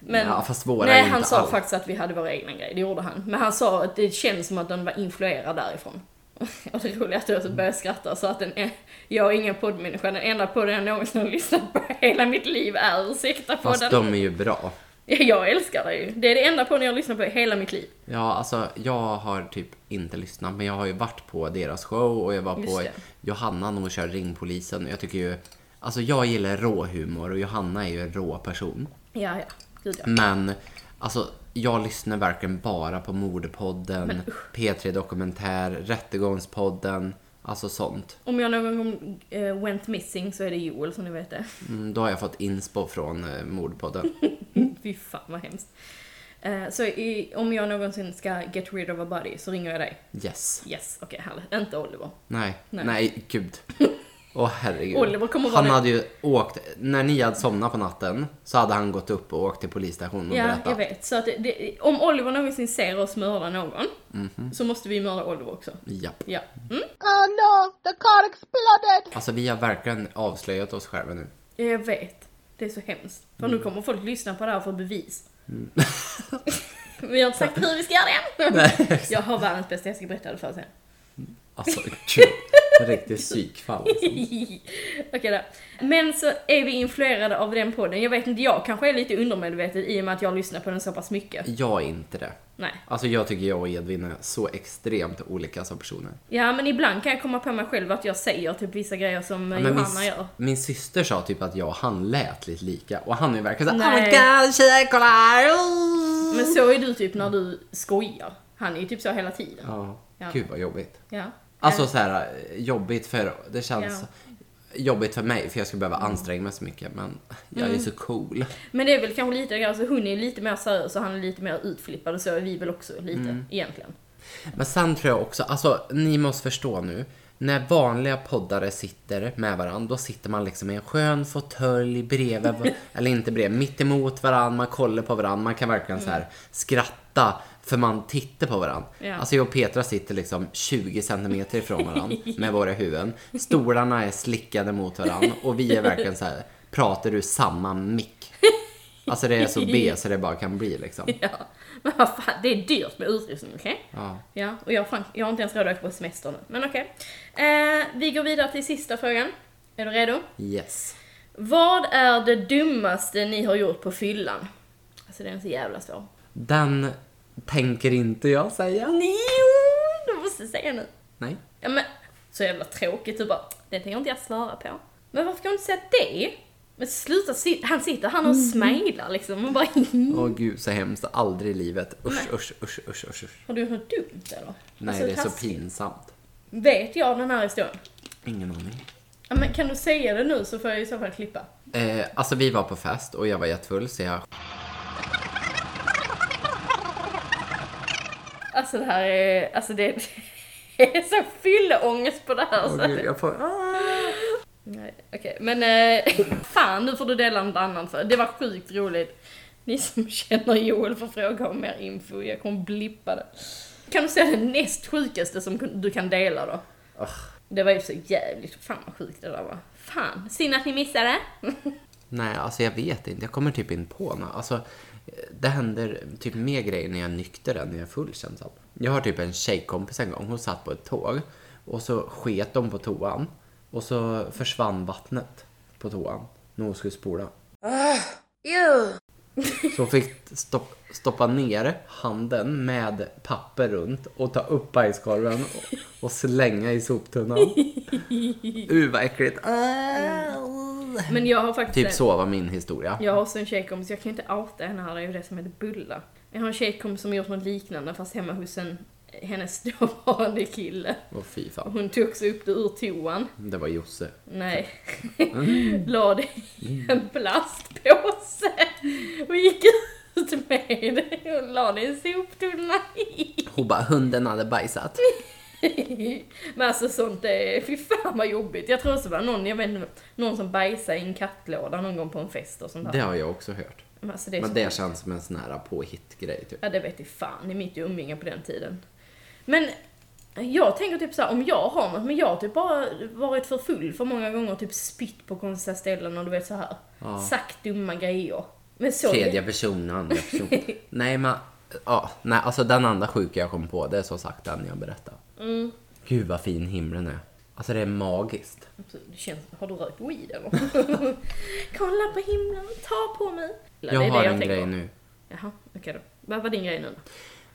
Speaker 1: Men,
Speaker 2: Ja, fast våra är
Speaker 1: nej,
Speaker 2: ju
Speaker 1: han
Speaker 2: inte
Speaker 1: sa
Speaker 2: allt.
Speaker 1: faktiskt att vi hade våra egna grejer, det gjorde han. Men han sa att det känns som att den var influerad därifrån. <laughs> Och det roliga är att jag så började skratta så att den är, jag är ingen poddmänniska, den enda podden jag någonsin har lyssnat på i hela mitt liv är Ursäkta
Speaker 2: Fast
Speaker 1: podden.
Speaker 2: de är ju bra.
Speaker 1: Ja, Jag älskar det ju. Det är det enda podden jag har lyssnat på i hela mitt liv.
Speaker 2: Ja, alltså jag har typ inte lyssnat, men jag har ju varit på deras show och jag var
Speaker 1: Just
Speaker 2: på
Speaker 1: det.
Speaker 2: Johanna när hon kör Ringpolisen. Jag tycker ju, alltså jag gillar rå humor och Johanna är ju en rå person.
Speaker 1: Ja, ja. Gud ja.
Speaker 2: Men alltså jag lyssnar verkligen bara på Mordpodden, P3 Dokumentär, Rättegångspodden, alltså sånt.
Speaker 1: Om jag någon gång eh, went missing så är det Joel som ni vet det. <laughs>
Speaker 2: Mm, då har jag fått inspo från eh, Mordpodden.
Speaker 1: Fy fan vad hemskt. Eh, så i, om jag någonsin ska get rid of a body så ringer jag dig.
Speaker 2: Yes.
Speaker 1: Yes, okej härligt. Inte Oliver.
Speaker 2: Nej.
Speaker 1: <laughs> Nej.
Speaker 2: Nej, gud. Åh herregud.
Speaker 1: Oliver kommer vara
Speaker 2: han
Speaker 1: den-
Speaker 2: hade ju åkt, när ni hade somnat på natten så hade han gått upp och åkt till polisstationen och
Speaker 1: Ja,
Speaker 2: berättat.
Speaker 1: jag vet. Så att det, det, om Oliver någonsin ser oss mörda någon så måste vi mörda Oliver också.
Speaker 2: Japp.
Speaker 1: Ja. Mm.
Speaker 2: Alltså vi har verkligen avslöjat oss
Speaker 1: <laughs>
Speaker 2: själva nu.
Speaker 1: Ja, Jag vet. Det är så hemskt. För nu kommer folk lyssna på det här för bevis. vi har inte sagt hur vi ska göra det än.
Speaker 2: Nej.
Speaker 1: jag har världens bästa, jag ska berätta det för sen.
Speaker 2: Alltså gud, en riktig psykfall. Alltså.
Speaker 1: <laughs> Okej då. Men så är vi influerade av den podden. Jag vet inte, jag kanske är lite undermedveten i och med att jag lyssnar på den så pass mycket.
Speaker 2: Jag är inte det.
Speaker 1: Nej.
Speaker 2: Alltså jag tycker jag och Edvin är så extremt olika som personer.
Speaker 1: Ja, men ibland kan jag komma på mig själv att jag säger typ vissa grejer som eh,
Speaker 2: Men
Speaker 1: Johanna
Speaker 2: min, s-
Speaker 1: gör.
Speaker 2: min syster sa typ att jag och han lät lite lika och han är ju verkligen såhär
Speaker 1: Nej.
Speaker 2: Oh my god tjejer kolla här! Mm.
Speaker 1: Men så är du typ när du skojar. Han är ju typ så hela tiden.
Speaker 2: Ja,
Speaker 1: Ja.
Speaker 2: gud vad jobbigt.
Speaker 1: Ja.
Speaker 2: Alltså så här eh, jobbigt för, det känns
Speaker 1: Ja.
Speaker 2: jobbigt för mig för jag skulle behöva anstränga mig så mycket men jag
Speaker 1: Mm.
Speaker 2: är så cool.
Speaker 1: Men det är väl kanske lite, alltså hon är lite mer seriös och han är lite mer utflippad och så är vi väl också lite,
Speaker 2: Mm.
Speaker 1: egentligen.
Speaker 2: Men sen tror jag också, alltså ni måste förstå nu. När vanliga poddare sitter med varandra, då sitter man liksom i en skön fåtölj bredvid, va- eller inte bredvid, mitt emot varandra, man kollar på varandra, man kan verkligen så här skratta för man tittar på varandra.
Speaker 1: Ja.
Speaker 2: Alltså jag och Petra sitter liksom 20 centimeter ifrån varandra med våra huvuden. Stolarna är slickade mot varandra och vi är verkligen så här, pratar du samma mick? Alltså det är så B så det bara kan bli liksom.
Speaker 1: <laughs> Ja. Men vad fan, det är dyrt med utrustning, okej?
Speaker 2: Ja.
Speaker 1: Ja, och jag, har fan, jag har inte ens råd att åka på semester nu. Men okej. Eh, vi går vidare till sista frågan. Är du redo?
Speaker 2: Yes.
Speaker 1: Vad är det dummaste ni har gjort på fyllan? Alltså den är så jävla svår. <laughs>
Speaker 2: Den tänker inte jag säga.
Speaker 1: Jo, du måste säga nu.
Speaker 2: Nej.
Speaker 1: Ja men, så jävla tråkigt. Du bara, den tänker inte jag svara på. Men varför kan du inte säga det? Men sluta, si- han sitter han och smilar liksom och bara <laughs>
Speaker 2: Åh gud så hemskt, aldrig i livet. Usch, usch, usch, usch, usch. usch.
Speaker 1: Har du gjort något dumt eller?
Speaker 2: Nej
Speaker 1: Alltså,
Speaker 2: det är så
Speaker 1: taskigt.
Speaker 2: pinsamt.
Speaker 1: Vet jag den här historien?
Speaker 2: Ingen aning.
Speaker 1: Ja, men kan du säga det nu så får jag i så fall klippa.
Speaker 2: Eh, alltså vi var på fest och jag var jättefull så jag...
Speaker 1: Alltså det här är, alltså det <laughs> är så fylleångest på det här. så.
Speaker 2: Åh gud jag får... Ah!
Speaker 1: Nej, okej. Men eh, <laughs> fan, nu får du dela något annat för. Det var sjukt roligt. Ni som <laughs> känner Joel får fråga om mer info. Jag kommer blippa det. Kan du säga det näst sjukaste som kun- du kan dela då? Det var ju så jävligt. Fan vad sjukt det där var. Fan, synd att ni missade. <laughs>
Speaker 2: Nej alltså jag vet inte, jag kommer typ inte på något. Alltså det händer typ mer grejer när jag är nykter än när jag är full känns det som. Jag har typ en tjejkompis en gång, hon satt på ett tåg och så sket de på toan och så försvann vattnet på toan när hon skulle spola. Så hon fick stopp, stoppa ner handen med papper runt och ta upp bajskorven och, och slänga i soptunnan. Uh vad äckligt. Ah.
Speaker 1: Men jag har faktiskt...
Speaker 2: Typ så var min historia.
Speaker 1: Jag har också en tjejkompis, jag kan ju inte outa henne här, det är ju det som heter bulla. Jag har en tjejkompis som gjort något liknande fast hemma hos en, hennes <laughs> dåvarande kille.
Speaker 2: Åh fy
Speaker 1: Och
Speaker 2: fan.
Speaker 1: Hon tog också upp det ur toan.
Speaker 2: Det var Josse.
Speaker 1: Nej.
Speaker 2: Mm.
Speaker 1: <laughs> La det i en plastpåse och gick ut med det och la det i en soptunna. <laughs>
Speaker 2: Hon bara, hunden hade bajsat.
Speaker 1: Men alltså sånt är, fy fan vad jobbigt. Jag tror också det var någon, jag vet inte, någon som bajsade i en kattlåda någon gång på en fest och sånt
Speaker 2: Det
Speaker 1: där.
Speaker 2: har jag också hört.
Speaker 1: Men alltså det är så
Speaker 2: Men det känns som en sån här påhitt-grej
Speaker 1: <laughs>
Speaker 2: typ.
Speaker 1: Ja, det vet jag fan i mitt umgänge på den tiden. Men jag tänker typ så här, om jag har något, men jag har typ bara varit för full för många gånger, typ spytt på konstiga ställen och du vet så här. Sagt dumma grejer. Men så...
Speaker 2: Tredje person, andra person. nej men, ja. Nej, alltså den andra sjuka jag kom på, det är som sagt den jag berättade.
Speaker 1: Mm.
Speaker 2: Gud vad fin himlen är. Alltså det är magiskt.
Speaker 1: Det känns, har du rökt weed eller? <laughs> Kolla på himlen, ta på mig. Eller,
Speaker 2: Jag
Speaker 1: det är det
Speaker 2: har en
Speaker 1: tänker.
Speaker 2: grej nu.
Speaker 1: Jaha, okej då. Vad var din grej nu då?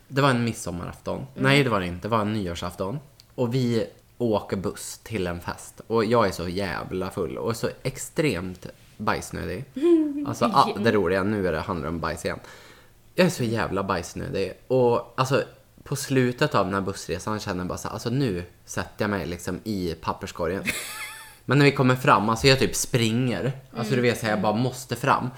Speaker 2: Det var en midsommarafton. Nej, det var det inte. Det var en nyårsafton. Och vi åker buss till en fest. Och jag är så jävla full och så extremt bajsnödig. Alltså, ah, det roliga nu är det handlar om bajs igen. Jag är så jävla bajsnödig. Och alltså, på slutet av den här bussresan känner jag bara så här, alltså nu sätter jag mig liksom i papperskorgen. Men när vi kommer fram, alltså jag typ springer. Alltså du vet, så här, jag bara måste fram.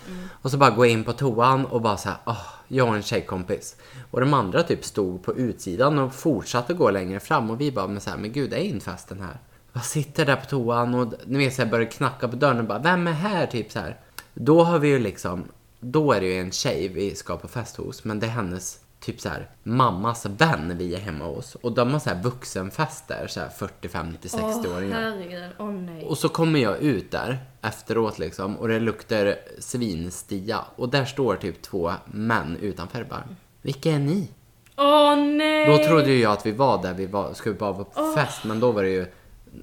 Speaker 2: Och så bara går jag in på toan och bara så här, "Åh, jag och en tjejkompis. Och de andra typ stod på utsidan och fortsatte gå längre fram. Och vi bara, men så här, men gud, det är inte festen här. Jag sitter där på toan och ni vet så här börjar knacka på dörren och bara vem är här? Typ så här. Då har vi ju liksom, då är det ju en tjej vi ska på fest hos men det är hennes typ så här mammas vän vi är hemma hos och de har så här vuxenfester så här 40, 50, 60-åringar.
Speaker 1: herregud. Åh nej.
Speaker 2: Och så kommer jag ut där efteråt liksom och det luktar svinstia och där står typ två män utanför bara. Vilka är ni?
Speaker 1: Åh nej!
Speaker 2: Då trodde ju jag att vi var där vi var, skulle bara vara på fest men då var det ju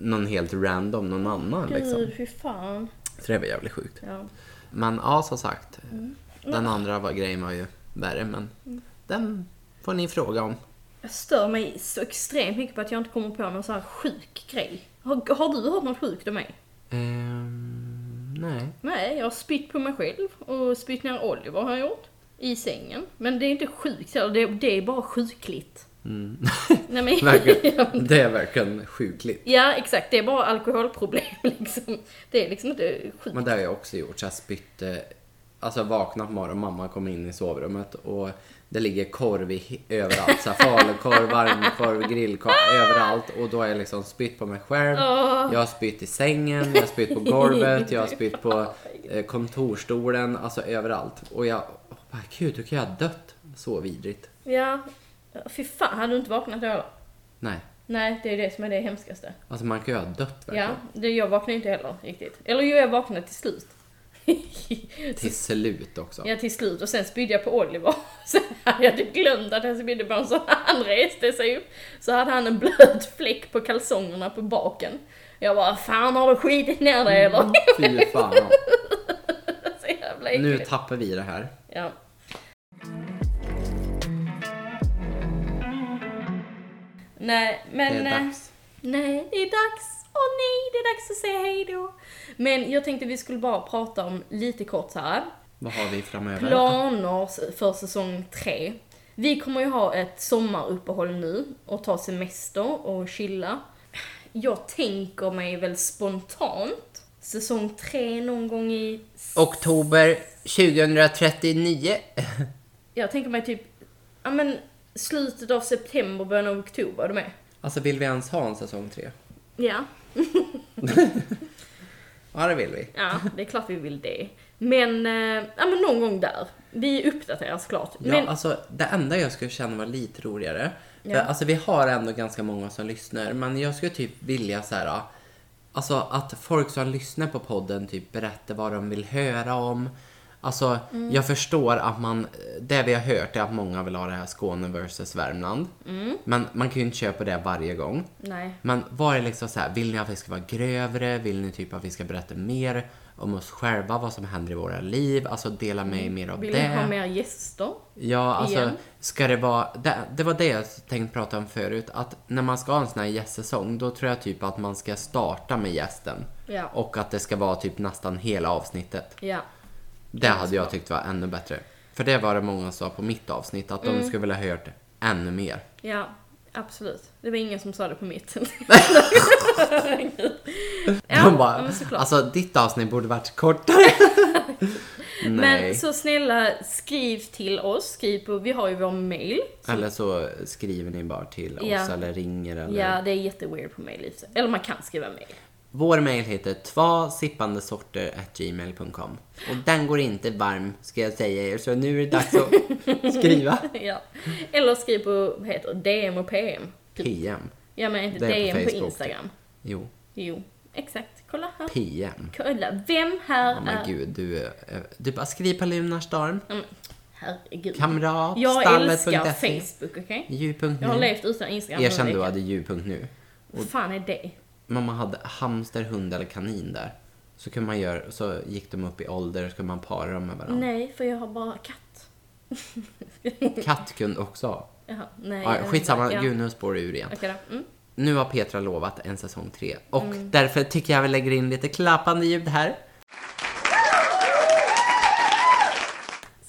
Speaker 2: någon helt random, någon annan liksom.
Speaker 1: Gud, fy fan.
Speaker 2: Så det var jävligt sjukt.
Speaker 1: Ja. Mm.
Speaker 2: Men ja, som sagt. Den andra var, grejen var ju värre men den får ni fråga om.
Speaker 1: Jag stör mig så extremt mycket på att jag inte kommer på någon så här sjuk grej. Har, har du hört något sjukt om mig?
Speaker 2: Ehm,
Speaker 1: <laughs>
Speaker 2: nej. <laughs>
Speaker 1: Nej, jag har spytt på mig själv och spytt ner Oliver har jag gjort. I sängen. Men det är inte sjukt heller, det, det är bara sjukligt. Nej, men,
Speaker 2: Verkligen. Det är verkligen sjukligt.
Speaker 1: <laughs> ja, exakt. Det är bara alkoholproblem <laughs> liksom. Det är liksom inte sjukt.
Speaker 2: Men det har jag också gjort. Så jag spytte, alltså vaknat på morgonen, mamma kom in i sovrummet och det ligger korv i, he- överallt. Så här, falukorv, varmkorv, grillkorv, överallt. Och då har jag liksom spytt på mig själv. Jag har spytt i sängen, jag har spytt på golvet, jag har spytt på eh, kontorstolen, alltså överallt. Och jag, oh, bara, gud hur kan jag ha dött? Så vidrigt.
Speaker 1: Ja, fy fan, hade du inte vaknat då eller?
Speaker 2: Nej,
Speaker 1: Nej, det är det som är det hemskaste.
Speaker 2: alltså man kan ju ha dött verkligen.
Speaker 1: Ja, det, jag vaknade inte heller riktigt. Eller jo, jag vaknade till slut. <laughs>
Speaker 2: Till slut också.
Speaker 1: Ja, till slut. Och sen spydde jag på Oliver. <laughs> Sen hade jag typ glömt att jag spydde på honom, så han reste sig upp. Så hade han en blöt fläck på kalsongerna på baken. Jag bara, fan har du skitit ner dig
Speaker 2: Mm,
Speaker 1: <laughs> eller?
Speaker 2: Fy fan.
Speaker 1: så jävla
Speaker 2: Nu
Speaker 1: äckligt.
Speaker 2: tappar vi det här.
Speaker 1: Ja. Nej,
Speaker 2: Det
Speaker 1: men...
Speaker 2: är
Speaker 1: eh,
Speaker 2: dags.
Speaker 1: Nej, det är dags. Åh nej, det är dags att säga hej då. Men jag tänkte vi skulle bara prata om lite kort så här.
Speaker 2: Vad har vi framöver?
Speaker 1: planer för säsong tre. Vi kommer ju ha ett sommaruppehåll nu och ta semester och chilla. Jag tänker mig väl spontant säsong tre någon gång i...
Speaker 2: Oktober 2039.
Speaker 1: Jag tänker mig typ, ja men slutet av september, början av oktober, är du med?
Speaker 2: Alltså vill vi ens ha en säsong tre?
Speaker 1: Ja.
Speaker 2: Ja det vill vi.
Speaker 1: Ja, det är klart vi vill det. Men, eh, ja men någon gång där. Vi uppdaterar såklart.
Speaker 2: Ja,
Speaker 1: men,
Speaker 2: alltså, det enda jag skulle känna var lite roligare.
Speaker 1: Ja.
Speaker 2: För, alltså, vi har ändå ganska många som lyssnar men jag skulle typ vilja så här, alltså att folk som lyssnar på podden typ berättar vad de vill höra om. Alltså
Speaker 1: Mm.
Speaker 2: jag förstår att man, det vi har hört är att många vill ha det här Skåne versus Värmland. Men man kan ju inte köpa det varje gång.
Speaker 1: Mm. nej.
Speaker 2: Men var det liksom så här, vill ni att vi ska vara grövre? Vill ni typ att vi ska berätta mer om oss själva, vad som händer i våra liv? Alltså dela med er mer av
Speaker 1: Vill ni
Speaker 2: det.
Speaker 1: ha mer gäster?
Speaker 2: Ja, alltså
Speaker 1: igen?
Speaker 2: ska det vara... Det, det var det jag tänkte prata om förut, att när man ska ha en sån här gästsäsong, då tror jag typ att man ska starta med gästen.
Speaker 1: Ja.
Speaker 2: Och att det ska vara typ nästan hela avsnittet.
Speaker 1: Ja.
Speaker 2: Det hade jag tyckt var ännu bättre. För det var det många som sa på mitt avsnitt, att
Speaker 1: Mm.
Speaker 2: de skulle vilja ha hört ännu mer.
Speaker 1: Ja, absolut. Det var ingen som sa det på mitt.
Speaker 2: <laughs>
Speaker 1: ja,
Speaker 2: de bara,
Speaker 1: men såklart.
Speaker 2: alltså ditt avsnitt borde varit kortare. Nej.
Speaker 1: <laughs> Men så snälla skriv till oss, skriv på, vi har ju vår mail.
Speaker 2: Eller så skriver ni bara till oss
Speaker 1: Ja.
Speaker 2: eller ringer eller...
Speaker 1: Ja, det är jätteweird på mail i och för sig. Eller man kan skriva mail.
Speaker 2: Vår mail heter tvasippandesorter.gmail.com Och den går inte varm ska jag säga er, så nu är det dags
Speaker 1: <laughs>
Speaker 2: att skriva.
Speaker 1: Ja. Eller skriv på, vad heter det, DM och PM. Typ.
Speaker 2: PM.
Speaker 1: Ja men inte
Speaker 2: Det är
Speaker 1: DM på,
Speaker 2: på Facebook. typ.
Speaker 1: Instagram.
Speaker 2: Jo,
Speaker 1: Jo, exakt. Kolla här.
Speaker 2: PM.
Speaker 1: Kolla, vem här
Speaker 2: Ja
Speaker 1: är...
Speaker 2: men Oh gud, du, eh, du bara skriv på Lunarstorm,
Speaker 1: Ja, men, herregud.
Speaker 2: Kamrat,
Speaker 1: Jag
Speaker 2: stallet.se.
Speaker 1: älskar Facebook, okej? Jag har
Speaker 2: ju.nu.
Speaker 1: levt utan Instagram
Speaker 2: E. Mm. Erkänn du
Speaker 1: vecka.
Speaker 2: hade ju.nu.
Speaker 1: Vad fan är det?
Speaker 2: Mamma hade hamster, hund eller kanin där. Så, kunde man göra, så gick de upp i ålder, så kunde man para dem med varandra.
Speaker 1: Nej, för jag har bara katt. <laughs>
Speaker 2: Katt kunde också ha.
Speaker 1: Jaha, nej.
Speaker 2: Ja,
Speaker 1: jag har
Speaker 2: skitsamma,
Speaker 1: inte- ja.
Speaker 2: gud nu spår du ur igen.
Speaker 1: Okej då. Mm.
Speaker 2: Nu har Petra lovat en säsong tre och därför tycker jag vi lägger in lite klappande ljud här.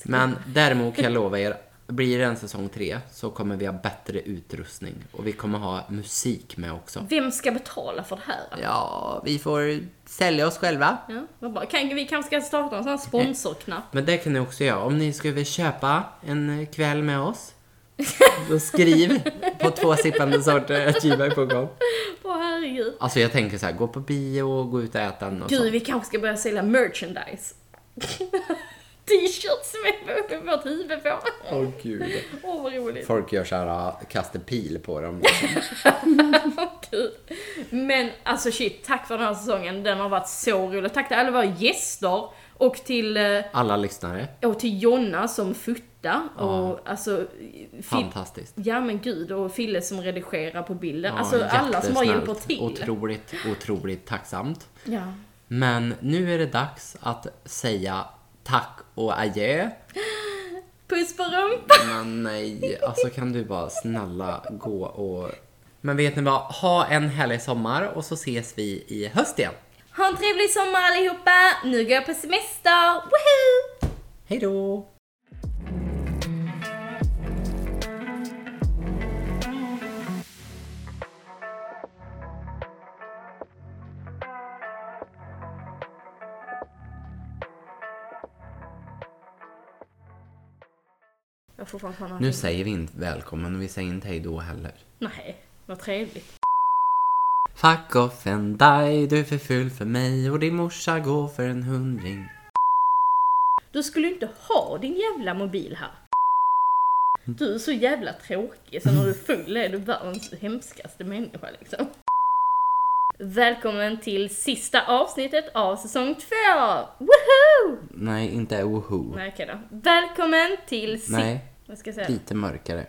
Speaker 2: Men däremot kan jag lova er, blir det en säsong tre så kommer vi ha bättre utrustning och vi kommer ha musik med också.
Speaker 1: Vem ska betala för det här? då?
Speaker 2: Ja, vi får sälja oss själva.
Speaker 1: Ja, vad bra. Kan, vi kanske ska starta en sån här sponsorknapp.
Speaker 2: Men det kan ni också göra. Om ni skulle vilja köpa en kväll med oss <laughs> Då skriv på tvåsippandesorter.gmail.com.
Speaker 1: Åh herregud.
Speaker 2: Alltså jag tänker så här, gå på bio och gå ut och äta och
Speaker 1: Gud,
Speaker 2: sånt.
Speaker 1: vi kanske ska börja sälja merchandise. <laughs> T-shirts med vårt huvud på.
Speaker 2: Åh gud.
Speaker 1: Åh, vad roligt.
Speaker 2: Folk gör så här, äh, kastar pil på dem.
Speaker 1: <laughs> Kul. Men alltså shit, tack för den här säsongen. Den har varit så rolig. Tack till alla våra gäster och till, eh,
Speaker 2: Alla lyssnare.
Speaker 1: och till Jonna som futtar och alltså... Fil-
Speaker 2: Fantastiskt.
Speaker 1: Ja men gud, och Fille som redigerar på bilden.
Speaker 2: Ja,
Speaker 1: alltså alla som har
Speaker 2: jättesnällt.
Speaker 1: hjälpt till.
Speaker 2: Otroligt, otroligt tacksamt.
Speaker 1: Ja.
Speaker 2: Men nu är det dags att säga tack och adjö.
Speaker 1: Puss på rumpan!
Speaker 2: Men nej, alltså kan du bara snälla gå och... Men vet ni vad? Ha en härlig sommar och så ses vi i höst igen.
Speaker 1: Ha en trevlig sommar allihopa! Nu går jag på semester! Woohoo!
Speaker 2: Hej då!
Speaker 1: Jag får fan fan
Speaker 2: Nu säger vi inte välkommen och vi säger inte hej då heller.
Speaker 1: Nej, vad trevligt.
Speaker 2: Fuck off and die, du är för ful för mig och din morsa går för en hundring.
Speaker 1: Du skulle ju inte ha din jävla mobil här. Du är så jävla tråkig, sen när du är full är du världens hemskaste människa liksom. Välkommen till sista avsnittet av säsong två! Woho!
Speaker 2: Nej, inte woho.
Speaker 1: Nej, okej då. Välkommen till si-
Speaker 2: Nej.
Speaker 1: Vad ska jag säga?
Speaker 2: Lite mörkare.